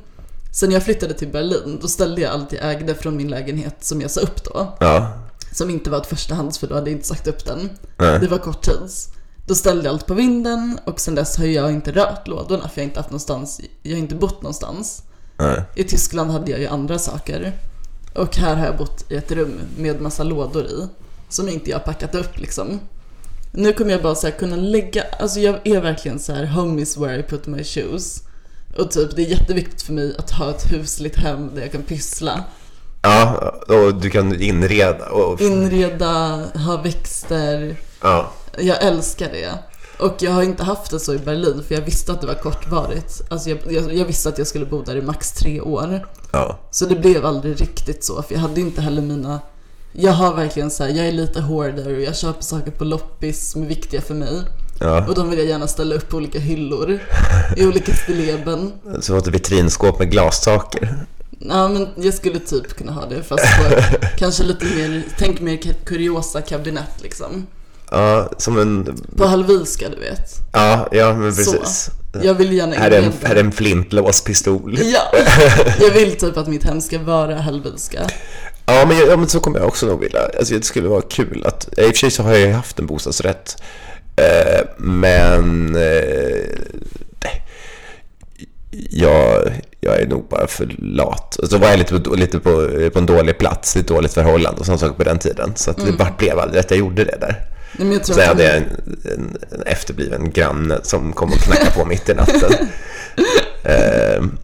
Sen jag flyttade till Berlin, då ställde jag allt jag ägde från min lägenhet som jag sa upp då. Ja. som inte var ett förstahands för då hade jag inte sagt upp den. Nej. Det var kort tids. Då ställde jag allt på vinden och sen dess har jag inte rört lådorna för jag har inte haft någonstans, jag har inte bott någonstans. Nej. I Tyskland hade jag ju andra saker. Och här har jag bott i ett rum med massa lådor i. Som inte jag har packat upp liksom. Nu kommer jag bara så här kunna lägga, alltså jag är verkligen så här home is where I put my shoes. Och typ det är jätteviktigt för mig att ha ett husligt hem där jag kan pyssla. Ja, och du kan inreda och... Inreda, ha växter, Ja. Jag älskar det. Och jag har inte haft det så i Berlin för jag visste att det var kortvarigt. Alltså jag, jag, jag visste att jag skulle bo där i max tre år. Ja. Så det blev aldrig riktigt så för jag hade inte heller mina... Jag har verkligen så här, jag är lite hoarder och jag köper saker på loppis som är viktiga för mig. Ja. Och de vill jag gärna ställa upp på olika hyllor i olika stilleben. Så ett vitrinskåp med glassaker. Ja men jag skulle typ kunna ha det fast på kanske lite mer, tänk mer kuriosa kabinett liksom. Ja, som en... På Hallwylska du vet. Ja, ja men precis. Jag vill gärna Här är en, inleda- här är en flintlåspistol. Ja, jag vill typ att mitt hem ska vara helveteska. Ja men, jag- ja, men så kommer jag också nog vilja. Alltså, det skulle vara kul att... I och för sig så har jag ju haft en bostadsrätt. Eh, men... Eh, jag, jag är nog bara för lat. Och så var jag lite, på, lite på, på en dålig plats, i ett dåligt förhållande och sådana saker på den tiden. Så att det bara blev aldrig att jag gjorde det där. Nej, men jag tror Sen att hade jag en, en, en efterbliven granne som kom och knackade på mitt i natten. Ehm,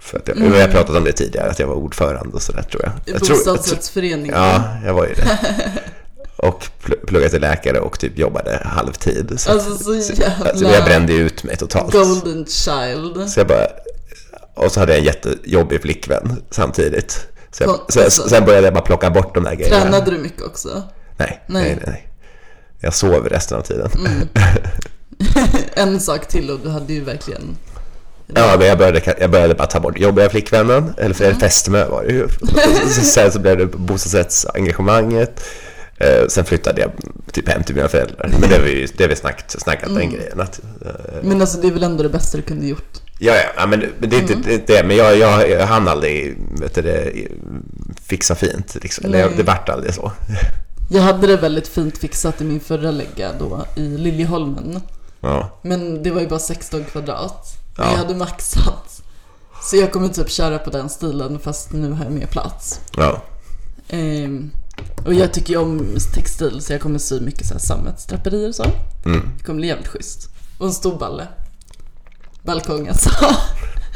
för att jag, vi har pratat om det tidigare, att jag var ordförande och sådär tror jag. Mm. i jag, tror, jag tror, bostadsrättsföreningen. ja, jag var ju det. Och pl- pluggade till läkare och typ jobbade halvtid. Så, Alltså så jävla alltså, jag brände ju ut mig totalt. golden child. Så jag bara, och så hade jag en jättejobbig flickvän samtidigt. Så jag, Kon- så, så, sen började jag bara plocka bort de där grejerna. Tränade du mycket också? Nej, Nej. nej, nej. nej. Jag sov resten av tiden. En sak till och du hade ju verkligen... Ja, men jag började, jag började bara ta bort jobbiga flickvännen, eller mm. fästmö var det ju. Så- Sen så blev det bostadsrättsengagemanget. Eh, Sen flyttade jag typ hem till mina föräldrar. Men det har vi, det har vi snackat, snackat den Mm. grejen. Att, eh, Men alltså det är väl ändå det bästa du kunde gjort? ja, ja, ja, men det- men det är inte Mm. det, är inte det. Men jag, jag, jag hann aldrig vet du, det, fixa fint. Liksom. Eller, jag- Nej. det vart aldrig så. Jag hade det väldigt fint fixat i min förra lägga då i Liljeholmen. Ja. Men det var ju bara 16 kvadrat. Ja. Jag hade maxat. Så jag kommer typ köra på den stilen fast nu har jag mer plats. ja. Ehm, och jag tycker ju om textil så jag kommer sy mycket så här sammetsdraperier och så. Det kommer bli jävligt schysst. Och en stor balle. Balkong alltså.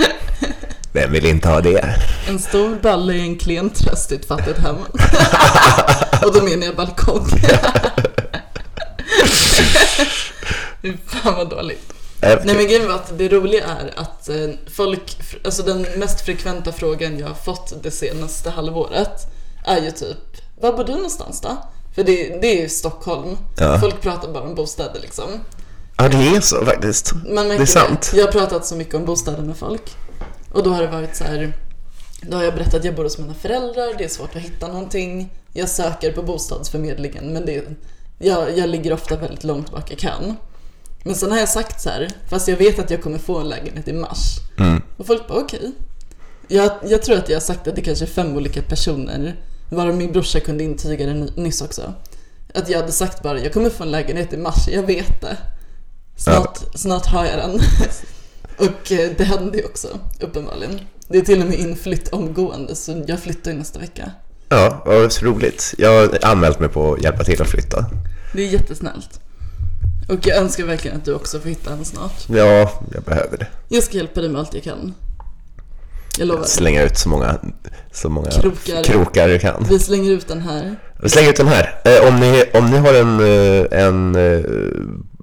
Vem vill inte ha det? Eh, En stor balle är en klen tröst i ett fattigt hem. och då menar jag balkong. Fy Fan vad dåligt. Eh, Nej men grejen var att det roliga är att eh, folk, alltså den mest frekventa frågan jag har fått det senaste halvåret är ju typ, var bor du någonstans då? För det, det är ju Stockholm. Ja. Folk pratar bara om bostäder liksom. Ja, det är så faktiskt. Man märker det är sant. Jag har pratat så mycket om bostäder med folk. Och då har det varit så här, då har jag berättat att jag bor hos mina föräldrar, det är svårt att hitta någonting. Jag söker på bostadsförmedlingen men det, jag, jag ligger ofta väldigt långt bak i kön. Men sen har jag sagt så här, fast jag vet att jag kommer få en lägenhet i mars. Och folk bara okej. Jag, jag tror att jag har sagt att det kanske är fem olika personer, varav min brorsa kunde intyga det ny- nyss också. Att jag hade sagt bara, jag kommer få en lägenhet i mars, jag vet det. Snart, snart har jag den. och eh, det hände ju också, uppenbarligen. Det är till och med inflytt omgående, så jag flyttar ju nästa vecka. Ja, vad så roligt. Jag har anmält mig på att hjälpa till att flytta. Det är jättesnällt. Och jag önskar verkligen att du också får hitta en snart. Ja, jag behöver det. Jag ska hjälpa dig med allt jag kan. Jag lovar. Slänga ut så många, så många Krokar. krokar. du kan. Vi slänger ut den här. Vi slänger ut den här. Eh, om, ni, om ni har en, eh, en eh,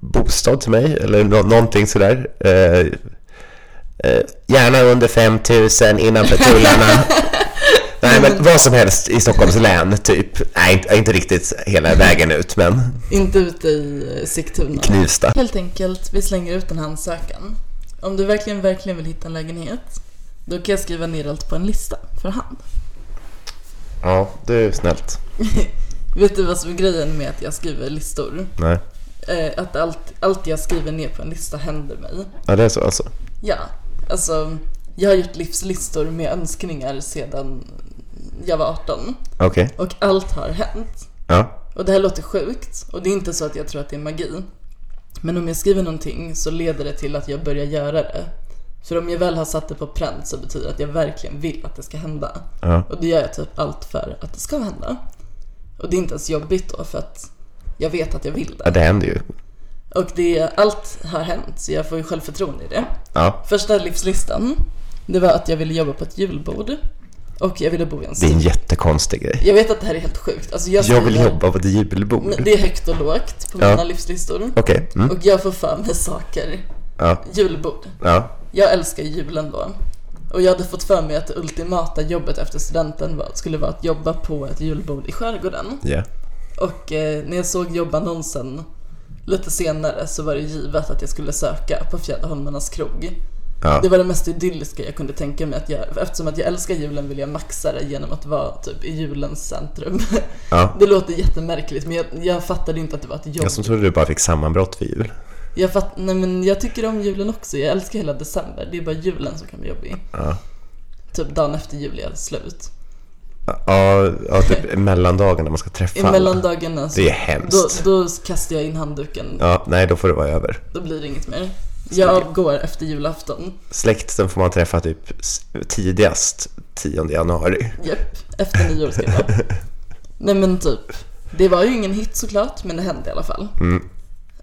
bostad till mig eller nå- någonting sådär. Eh, eh, gärna under 5000 innanför tullarna. Nej men vad som helst i Stockholms län typ. Nej inte, inte riktigt hela vägen ut men Inte ute i eh, Sigtuna. Knivsta. Helt enkelt, vi slänger ut den här ansökan. Om du verkligen, verkligen vill hitta en lägenhet, då kan jag skriva ner allt på en lista för hand. Ja det är ju snällt. Vet du vad som är grejen med att jag skriver listor? Nej. Eh, att allt, allt jag skriver ner på en lista händer mig. Ja det är så alltså. Ja, alltså jag har gjort livslistor med önskningar sedan jag var 18 Okej. och allt har hänt. Ja. Och det här låter sjukt och det är inte så att jag tror att det är magi. Men om jag skriver någonting så leder det till att jag börjar göra det. För om jag väl har satt det på pränt så betyder det att jag verkligen vill att det ska hända. Ja. Och då gör jag typ allt för att det ska hända. Och det är inte ens jobbigt då för att jag vet att jag vill ja det. det händer ju. Och det, allt har hänt så jag får ju självförtroende i det. Ja. Första livslistan, det var att jag ville jobba på ett julbord. Och jag ville bo i en Det är stuga. en jättekonstig grej. Jag vet att det här är helt sjukt. Alltså jag, Jag vill skriver- jobba på ett julbord. Men Mm, det är högt och lågt på Ja. mina livslistor. Okej. Mm. Och jag får för mig saker. Ja. Julbord. Ja. Jag älskar julen då. Och jag hade fått för mig att det ultimata jobbet efter studenten var, skulle vara att jobba på ett julbord i skärgården. Ja. Och eh, när jag såg jobbannonsen lite senare så var det givet att jag skulle söka på Fjäderholmarnas krog. Ja. Det var det mest idylliska jag kunde tänka mig att göra. Eftersom att jag älskar julen vill jag maxa det genom att vara typ i julens centrum. Ja. Det låter jättemärkligt men jag, jag fattade inte att det var ett jobb. Jag som trodde du bara fick sammanbrott för jul. Jag, fatt, nej, men jag tycker om julen också. Jag älskar hela december. Det är bara julen som kan bli jobbig. Ja. Typ dagen efter jul är slut. Ja, ja typ mellandagen när man ska träffa I alla. mellandagarna så, Det är då, hemskt. då kastar jag in handduken. Ja, nej, då får det vara över. Då blir det inget mer. Jag går efter julafton. Släkten får man träffa typ s- tidigast 10 januari. Japp, efter nyår ska jag vara. Nej men typ, det var ju ingen hit såklart, men det hände i alla fall. Mm.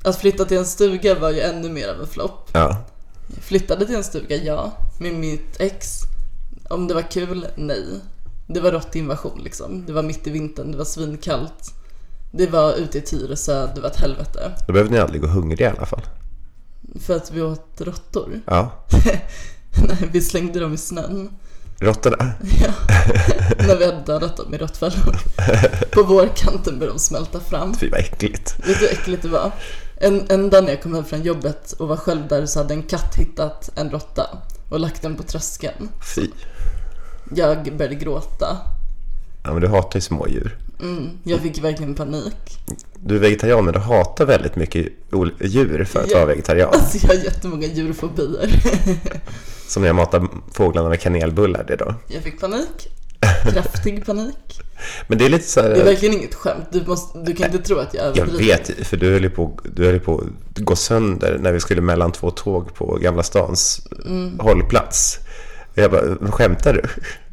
Att flytta till en stuga var ju ännu mer av en flopp. Ja, Flyttade till en stuga, ja. Med mitt ex. Om det var kul, nej. Det var råttinvasion liksom. Det var mitt i vintern, det var svinkallt. Det var ute i Tyresö, det var ett helvete. då behöver ni aldrig gå hungriga i alla fall. För att vi åt råttor. Ja, Nej, vi slängde dem i snön. råttorna. När vi hade dödat dem i råttfällor. På vårkanten började de smälta fram. Fy vad äckligt. Vet du hur äckligt det var? En, en dag när jag kom hem från jobbet och var själv där så hade en katt hittat en råtta och lagt den på tröskeln. Fy. Jag började gråta. Ja, men du hatar ju smådjur. Jag fick verkligen panik. Du är vegetarian, men du hatar väldigt mycket ol- djur för att Ja. vara vegetarian. Alltså jag har jättemånga djurfobier. Som när jag matar fåglarna med kanelbullar det då. Jag fick panik. Kraftig panik. Men det är lite så Det är här... verkligen inget skämt. Du, måste, du kan inte tro att jag Jag överdriver. vet, för du höll ju på, du höll ju på att gå sönder när vi skulle mellan två tåg på Gamla stans Mm. hållplats. Jag bara, skämtar du?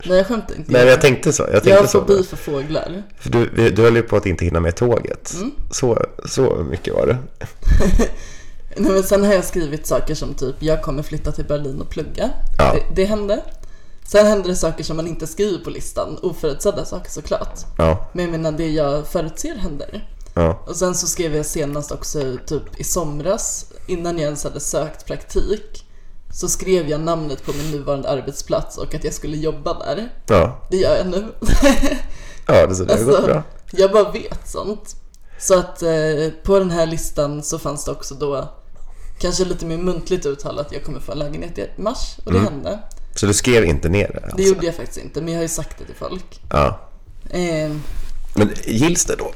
Nej, jag skämtar inte. Nej, men jag tänkte så. Jag jag tänkte har så. fobi för fåglar. För du, vi- du höll ju på att inte hinna med tåget. Mm. Så, så mycket var det. Nej, men sen har jag skrivit saker som typ jag kommer flytta till Berlin och plugga. Ja. Det, det hände. Sen hände det saker som man inte skriver på listan, oförutsedda saker såklart. Ja, Men jag menar det jag förutser händer. ja, Och sen så skrev jag senast också typ i somras, innan jag ens hade sökt praktik, så skrev jag namnet på min nuvarande arbetsplats och att jag skulle jobba där. ja. Det gör jag nu. Ja, det, så det har Alltså. gått bra. jag bara vet sånt. Så att eh, på den här listan så fanns det också då kanske lite mer muntligt uttalat att jag kommer få en lägenhet i mars och det Mm. hände. Så du skrev inte ner det? Alltså. Det gjorde jag faktiskt inte, men jag har ju sagt det till folk. Ja. Eh, Men gills det då?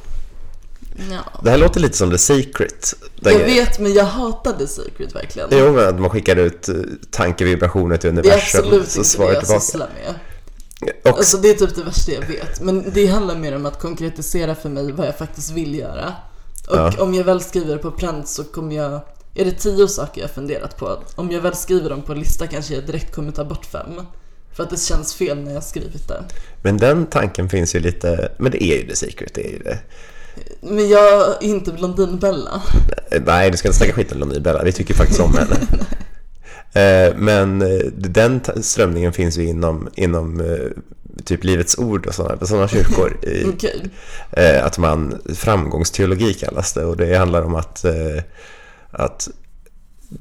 ja. Det här låter lite som The Secret. Den Jag grejen. vet, men jag hatade Secret verkligen. Jo, men att man skickar ut eh, tankevibrationer till Det är universum. absolut så inte det alltså. svarar jag tillbaka. sysslar med. Och Alltså det är typ det värsta jag vet. Men det handlar mer om att konkretisera för mig vad jag faktiskt vill göra. Och Ja. om jag väl skriver på pränt så kommer jag... Är det tio saker jag funderat på? Om jag väl skriver dem på en lista kanske jag direkt kommer ta bort fem. För att det känns fel när jag skrivit det. Men den tanken finns ju lite, men det är ju The Secret, det är ju det. Men jag är inte Blondinbella. Eh, Nej, du ska inte snacka skit om Lonnie Bella, vi tycker faktiskt om henne. Eh, Men eh, den ta- strömningen finns ju inom, inom eh, typ Livets Ord och sådana, sådana kyrkor. I, Okej. eh, att man, framgångsteologi kallas det och det handlar om att, eh, att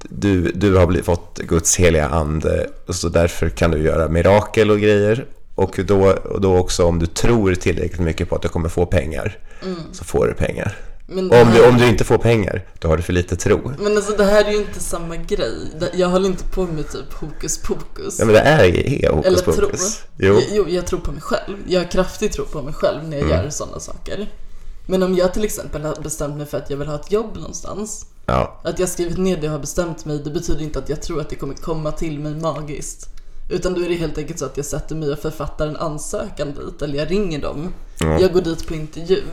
du, du har blivit, fått Guds heliga ande och så därför kan du göra mirakel och grejer. Och då, och då också om du tror tillräckligt mycket på att du kommer få pengar så får du pengar. Mm. Men, Och det om du, här- om du inte får pengar, då har du för lite tro. men alltså det här är ju inte samma grej. Det- Jag håller inte på med typ hokus pokus. Ja, men det är är hokus Eller tro. pokus. Jo. Jo. jo, jag tror på mig själv. Jag har kraftig tro på mig själv när jag gör sådana saker. Men om jag till exempel har bestämt mig för att jag vill ha ett jobb någonstans. Ja, Att jag skrivit ner det och har bestämt mig, det betyder inte att jag tror att det kommer komma till mig magiskt. Utan då är det helt enkelt så att jag sätter mig och författar en ansökan dit, eller jag ringer dem. Jag går dit på intervju.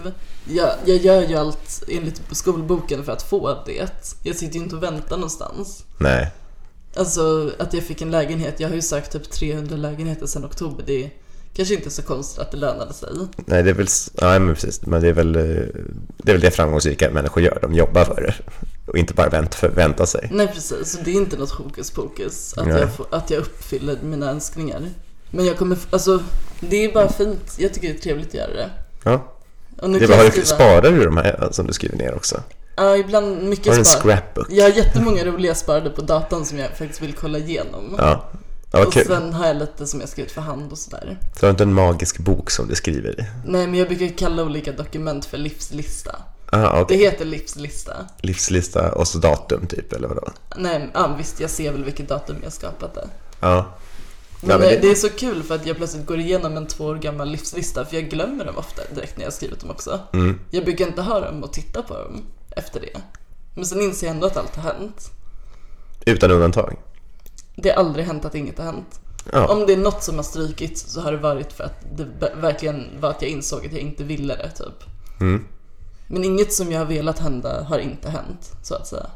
Jag, jag gör ju allt enligt skolboken för att få det. Jag sitter ju inte och väntar någonstans. nej. Alltså att jag fick en lägenhet. Jag har ju sökt typ 300 lägenheter sedan oktober. Det är kanske inte så konstigt att det lönade sig. Nej, det är väl, s- nej, men precis. Men det är väl, eh, det är väl det framgångsrika människor gör. De jobbar för det och inte bara vänt, förväntar sig. Nej precis, så det är inte något hokus pokus att, Nej. jag, får- att jag uppfyller mina önskningar. Men jag kommer, f- alltså det är bara fint. Jag tycker det är trevligt att göra det. Ja. Och nu Det är kan bara, har jag du, skriva. sparar du de här som du skriver ner också? Ja, ibland mycket Har du en spar. scrapbook? Jag har jättemånga roliga sparade på datan som jag faktiskt vill kolla igenom. Ja. Ja, vad och kul. sen har jag lite som jag skrivit för hand och sådär. Du har inte en magisk bok som du skriver i? Nej men jag brukar kalla olika dokument för livslista. Ah, Det okay. heter livslista. Livslista och så datum typ, eller vadå? Nej, ja, visst jag ser väl vilket datum jag skapat det. Ja. Men, Ja, men det... det- är så kul för att jag plötsligt går igenom en två år gammal livslista för jag Mm. glömmer dem ofta direkt när jag har skrivit dem också. Jag brukar inte ha dem och titta på dem efter det. Men sen inser jag ändå att allt har hänt. Utan undantag. Det har aldrig hänt att inget har hänt. Ja. Om det är något som har strykits så har det varit för att det be- verkligen var att jag insåg att jag inte ville det typ. Mm. Men inget som jag har velat hända har inte hänt så att säga.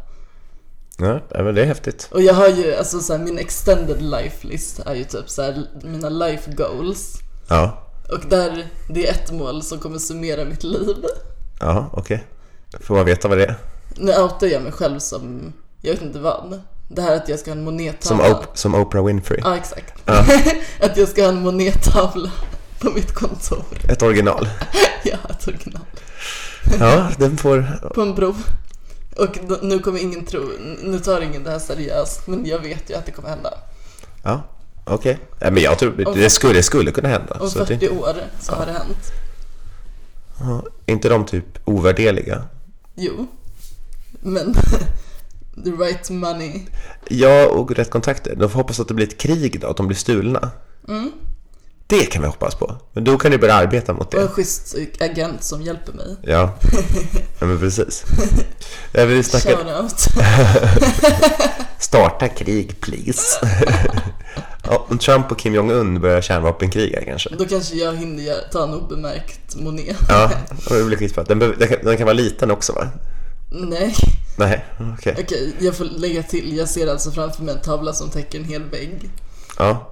Ja, ja, men det är häftigt. Och jag har ju, alltså så här, min extended life list är ju typ så här, mina life goals. Ja, Och där, det är ett mål som kommer summera mitt liv. ja okej. Får man veta vad det är? Nu outar jag mig själv som, jag vet inte vad. Det här att jag ska ha en Som, monettavla. Op- som Oprah Winfrey. Ja, exakt. att jag ska ha en monettavla på mitt kontor. Ett original. Jag har ett original. Ja, den får... På en bro. Och d- nu kommer ingen tro, nu tar ingen det här seriöst, men jag vet ju att det kommer hända. Ja, okej. Ja, men jag tror Om det skulle, det skulle kunna hända. Om så att 40 det, år så har det hänt. ja, är inte de typ ovärdeliga? Jo. Men the right money. Ja, och rätt kontakter. De får hoppas att det blir ett krig då, att de blir stulna. Det kan vi hoppas på. Men då kan du börja arbeta mot Och en det. schysst agent som hjälper mig. Ja, ja men precis. Ja, vi snackade, Shoutout. starta krig please. ja, om Trump och Kim Jong-Un börjar kärnvapenkriga kanske. Då kanske jag hinner göra- ta en obemärkt moné. Ja, och det blir skitbra. Den, behöver- den, kan, den kan vara liten också va? Nej, Nej, okej. okej, jag får lägga till. Jag ser alltså framför mig en tavla som täcker en hel vägg. Ja.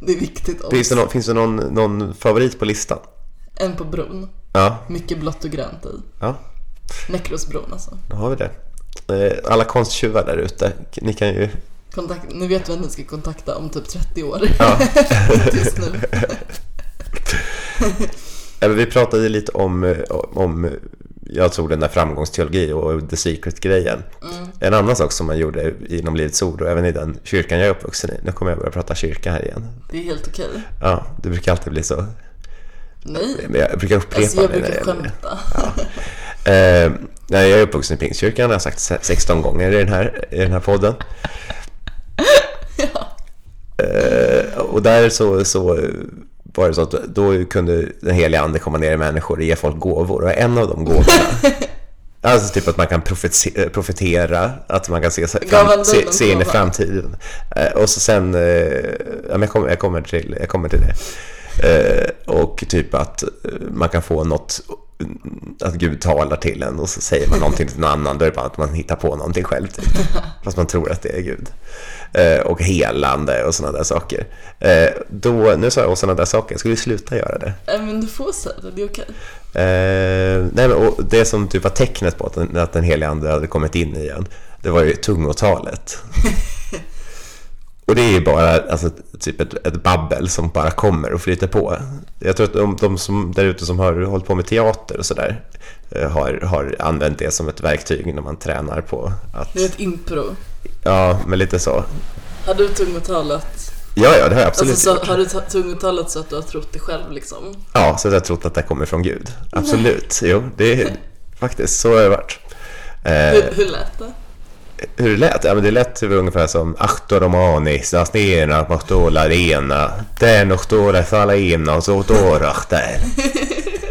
Det är viktigt också. Finns det, någon, finns det någon, någon favorit på listan? En på bron. Ja, Mycket blått och grönt i. ja, Näckrosbron alltså. då har vi det. Eh, Alla konsttjuvar där ute, ni kan ju... Kontakt, ni vet vem ni ska kontakta om typ 30 år. Ja. Inte Just nu. Eh, Vi pratade ju lite om, eh, om, jag tog den där framgångsteologi och the secret-grejen. Mm. En annan sak som man gjorde inom Livets Ord och även i den kyrkan jag är uppvuxen i. Nu kommer jag börja prata kyrka här igen. Det är helt okej. Ja, det brukar alltid bli så. Nej, Men jag brukar upprepa alltså jag det när det brukar gäller det. skämta. Eh, nej, jag är uppvuxen i Pingstkyrkan, det har jag sagt se- 16 gånger i den här, i den här podden. Eh, och där så, så var det så att då kunde den heliga ande komma ner i människor och ge folk gåvor. Och en av de gåvorna, alltså typ att man kan profete- eh, profetera, att man kan se, se- Gav han fram, se, den se in i gåvan? framtiden. Eh, och så sen, eh, ja, men jag, kommer, jag, kommer till, jag kommer till det. Eh, och typ att eh, man kan få något, mm, att Gud talar till en och så säger man någonting till någon annan, då är det bara att man hittar på någonting själv. Typ. Fast man tror att det är Gud. Eh, och helande och sådana där saker. Eh, då, nu sa jag och sådana där saker, jag skulle ju sluta göra det. Nej, Men du får säga det, det är okej. Eh, nej, men, och det som typ var tecknet på att den, att den helige ande hade kommit in igen, det var ju tungotalet. och det är ju bara alltså, typ ett, ett babbel som bara kommer och flyter på. Jag tror att de, de som där ute som har hållit på med teater och sådär eh, har, har använt det som ett verktyg när man tränar på att... Det är ett impro. Ja, men lite så. Har du tungotalet? Ja, ja, det har jag absolut Alltså, så, gjort. har du ta- tungotalet så att du har trott det själv liksom? Ja, så att jag trott att det kommer från Gud. Absolut, jo, det är faktiskt så har det varit. Eh, Hur, hur lät det? hur det lät? Ja, men det lät typ ungefär som Ahto romani, sastena, mahtola rena, den och stora salena och så där.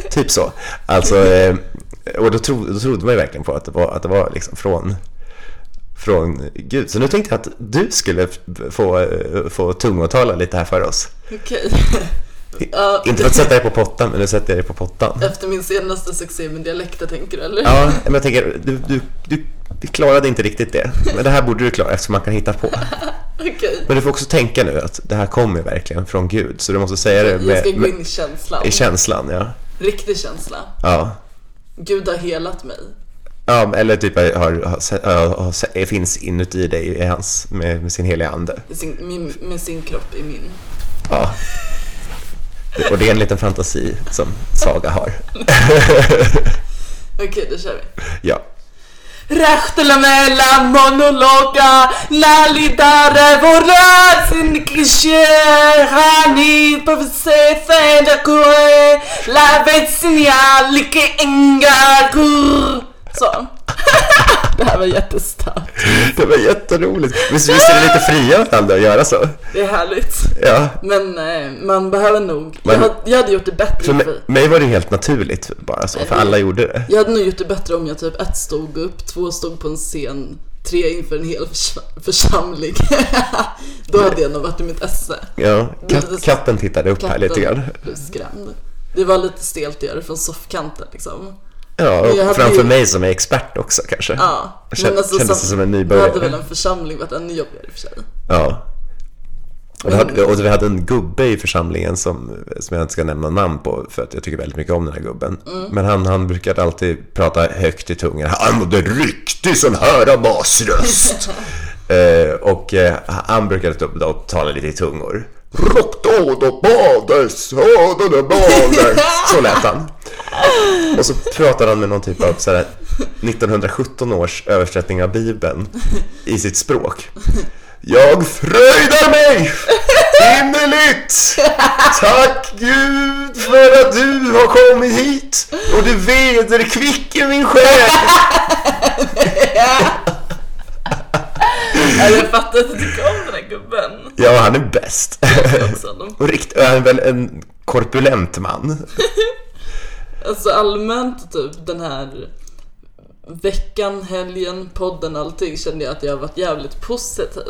Typ så. Alltså, eh, och då, tro, då trodde man ju verkligen på att det var, att det var liksom från, från Gud. Så nu tänkte jag att du skulle f- få, eh, få tungotala lite här för oss. Okej. I- Ja, Inte för att sätta dig på pottan, men nu sätter jag dig på pottan. Efter min senaste succé med dialekter tänker du eller? Ja, men jag tänker, du, du, du, du klarade inte riktigt det. Men det här borde du klara eftersom man kan hitta på. Okej. Men du får också tänka nu att det här kommer verkligen från Gud. Så du måste säga det Jag ska med, gå med, in i känslan. i känslan. Ja. Riktig känsla. Ja. Gud har helat mig. ja, men- eller typ har, har, har, har, finns inuti dig i hans, med, med sin heliga ande. Med sin, min, med sin kropp i min. Ja. Och det är en liten fantasi som Saga har. Okej, då kör vi. Ja. Rähtelämällä monologa Nalidare vorlasin kisherani Pavse fäder kue Lavet sinja like engar kur Så Det här var jättestört. Det var jätteroligt. Visst, visst är vi lite fria varandra att göra så? Det är härligt. Ja. Men eh, man behöver nog... Men- Jag, hade, jag hade gjort det För bättre. mig, För, mig var det helt naturligt bara så, för alla gjorde det. jag hade nog gjort det bättre om jag typ ett stod upp, två stod på en scen, tre inför en hel förs- församling. Då hade jag nog varit i mitt esse. Ja, kat, katten tittade upp här lite grann. blev skrämd. Det var lite stelt att göra det från soffkanten liksom. Ja, Men jag hade och framför ju- mig som är expert också kanske. Ja, Kän- kändes det som en nybörjare? Då hade väl en församling varit ännu jobbigare i och för sig. Ja. Och, vi hade, och vi hade en gubbe i församlingen som, som jag inte ska nämna namn på för att jag tycker väldigt mycket om den här gubben. Men han, han brukade alltid prata högt i tungan. Han var en riktig sån här basröst. eh, och eh, han brukade stå upp och tala lite i tungor. Roktad och bades, hörde bades. Så lät han. Och så pratade han med någon typ av så här 1917 års översättning av Bibeln i sitt språk. Jag fröjdar mig innerligt! Tack Gud för att du har kommit hit och du vederkvicker min själ! Nej, Jag fattar att du tycker om den där gubben. Ja, han är bäst. Också. De- Och rikt- han är väl en korpulent man. Alltså allmänt typ den här veckan, helgen, podden, allting kände jag att jag har varit jävligt positiv.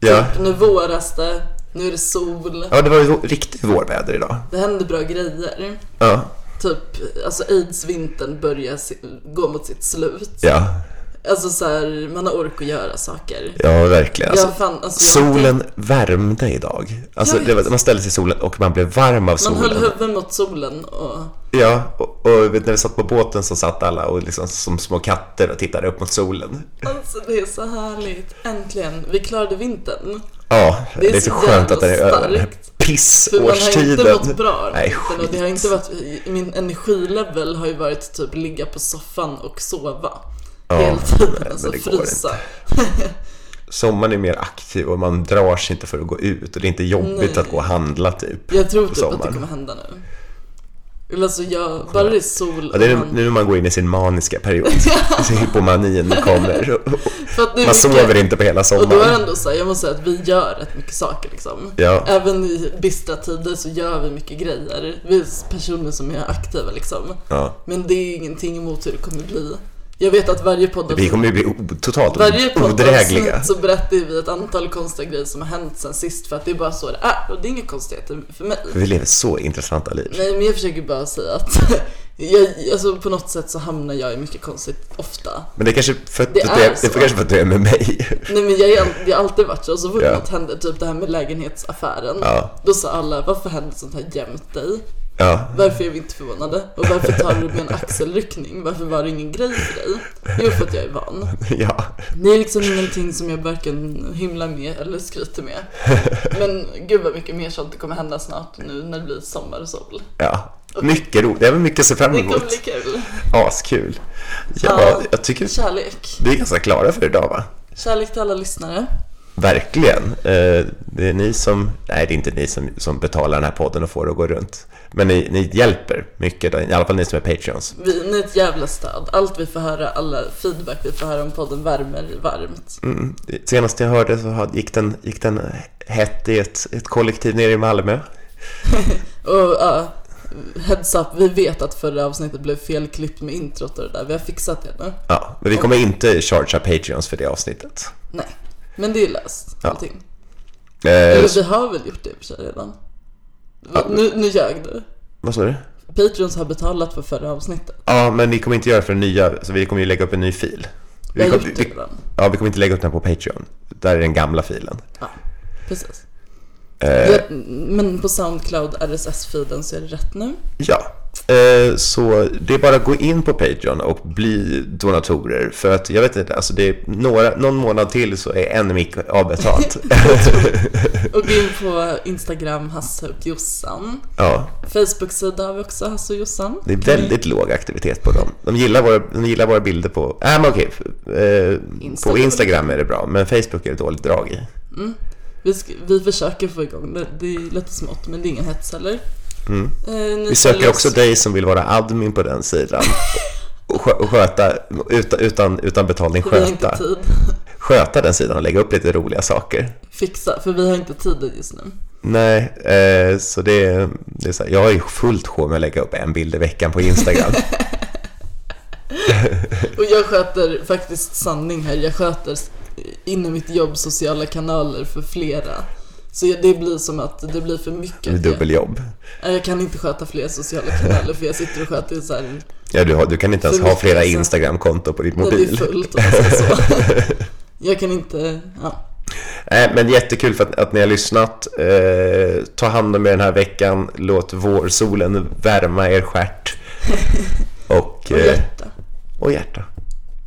Ja, Typ, nu våras det, nu är det sol, ja det var ju riktigt vårväder idag. det händer bra grejer. Ja, Typ, alltså aids-vintern börjar se- gå mot sitt slut. ja, Alltså så här, man har ork att göra saker. ja verkligen. Alltså, jag fan, alltså, solen värmde idag. Alltså, Jag vet. det var, man ställde sig i solen och man blev varm av Man solen. höll huvudet mot solen och... Ja, och, och när vi satt på båten så satt alla och liksom som små katter och tittade upp mot solen. Alltså det är så härligt. Äntligen. Vi klarade vintern. Ja, det är, så så skönt jävla att den är över. Den här starkt. För man har ju inte Pissårstiden. mått bra Nej, vintern och det har skit. inte varit... Min energilevel har ju varit typ ligga på soffan och sova. Ja, Hela tiden. men alltså det går frysa. Sommaren är mer aktiv och man drar sig inte för att gå ut och det är inte jobbigt Nej. att gå och handla typ. Jag tror på typ att det sommaren. kommer hända nu. Eller Alltså jag, bara det är sol Ja, det är och man- nu man går in i sin maniska period. alltså hypomanin kommer. och- och för att det är Man mycket- sover inte på hela Och då är det sommaren. ändå så här, jag måste säga att vi gör rätt mycket saker liksom. Ja. Även i bistra tider så gör vi mycket grejer. Vi är personer som är aktiva liksom. Ja. Men det är ingenting emot hur det kommer bli. Jag vet att varje podd Vi kommer ju bli o- totalt varje odrägliga. poddavsnitt så berättar vi ett antal konstiga grejer som har hänt sen sist för att det är bara så det är och det är inga konstigheter för mig. Vi lever så intressanta liv. Nej men jag försöker bara säga att jag, alltså, på något sätt så hamnar jag i mycket konstigt ofta. Men det är kanske för att Det det, är det, är så. kanske för att du är med mig. Nej men jag, är all- jag har alltid varit så, så fort Ja. något händer, typ det här med lägenhetsaffären, Ja. då sa alla varför händer sånt här jämt dig? Ja, Varför är vi inte förvånade? Och varför tar du det med en axelryckning? Varför var det ingen grej för dig? Jo, för att jag är van. ja. Det är liksom ingenting som jag varken hymlar med eller skryter med. Men gud vad mycket mer sånt det kommer hända snart nu när det blir sommar och sol. ja. Mycket roligt. Det är väl mycket att se fram Det kommer emot. bli kul. Askul. Ja, Ja. jag tycker Kärlek. vi är ganska klara för idag va? Kärlek till alla lyssnare. Verkligen. Eh, Det är ni som, nej det är inte ni som, som betalar den här podden och får det att gå runt. Men ni, ni hjälper mycket, då, i alla fall ni som är patreons. Vi, ni är ett jävla stöd. Allt vi får höra, alla feedback vi får höra om podden värmer varmt. Mm. Senast jag hörde så hade- gick den, gick den hett i ett, ett kollektiv nere i Malmö. Och ja, heads up, vi vet att förra avsnittet blev felklippt med introt och det där. Vi har fixat det nu. Ja, men vi kommer inte chargea patreons för det avsnittet. Nej, men det är löst Ja. allting. Eh, Eller vi har väl gjort det i och för sig redan. Va, nu, nu ljög du. Vad sa du? Patreons har betalat för förra avsnittet. Ja, men ni kommer inte göra för den nya, så vi kommer ju lägga upp en ny fil. Vi Vi har kom, gjort det vi, redan. ja, vi kommer inte lägga upp den på Patreon. Där är den gamla filen. Ja, precis. Eh. Det- Men på Soundcloud RSS-feeden så är det rätt nu. Ja, eh, så det är bara att gå in på Patreon och bli donatorer. För att jag vet inte, alltså det är några, någon månad till så är en mick avbetalt. Och gå in på Instagram, Hasse och Jossan. ja, Facebook-sida har vi också, Hasse och Jossan. det är väldigt låg aktivitet på dem. De gillar våra, de gillar våra bilder på... Nej, men okej. Eh, Instagram. på Instagram är det bra, men Facebook är det dåligt drag i. Vi, sk- vi försöker få igång det. Det är lite smått, men det är ingen hets heller. Eh, ni Mm. följer Vi söker oss- också dig som vill vara admin på den sidan. och skö- och sköta, utan, utan, utan betalning, Vi har inte sköta, tid. sköta den sidan och lägga upp lite roliga saker. Fixa, för vi har inte tid just nu. Nej, eh, så det, det är så här, jag har ju fullt sjå med att lägga upp en bild i veckan på Instagram. Och jag sköter faktiskt sanning här. Jag sköter inom mitt jobb sociala kanaler för flera. Så jag- det blir som att det blir för mycket. Jag, Dubbeljobb. Nej, jag kan inte sköta fler sociala kanaler för jag sitter och sköter så här Ja, du, har, du kan inte ens För ha mycket, flera alltså. Instagram-konton på ditt när det är mobil. fullt och så. Jag kan inte, ja. Nej, Eh, men jättekul för att, att ni har lyssnat. Eh, ta hand om er den här veckan. Låt vårsolen värma er stjärt. Och, Och eh, hjärta. och hjärta.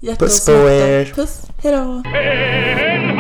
Hjärta och Puss på smärta. er. Puss, hejdå. En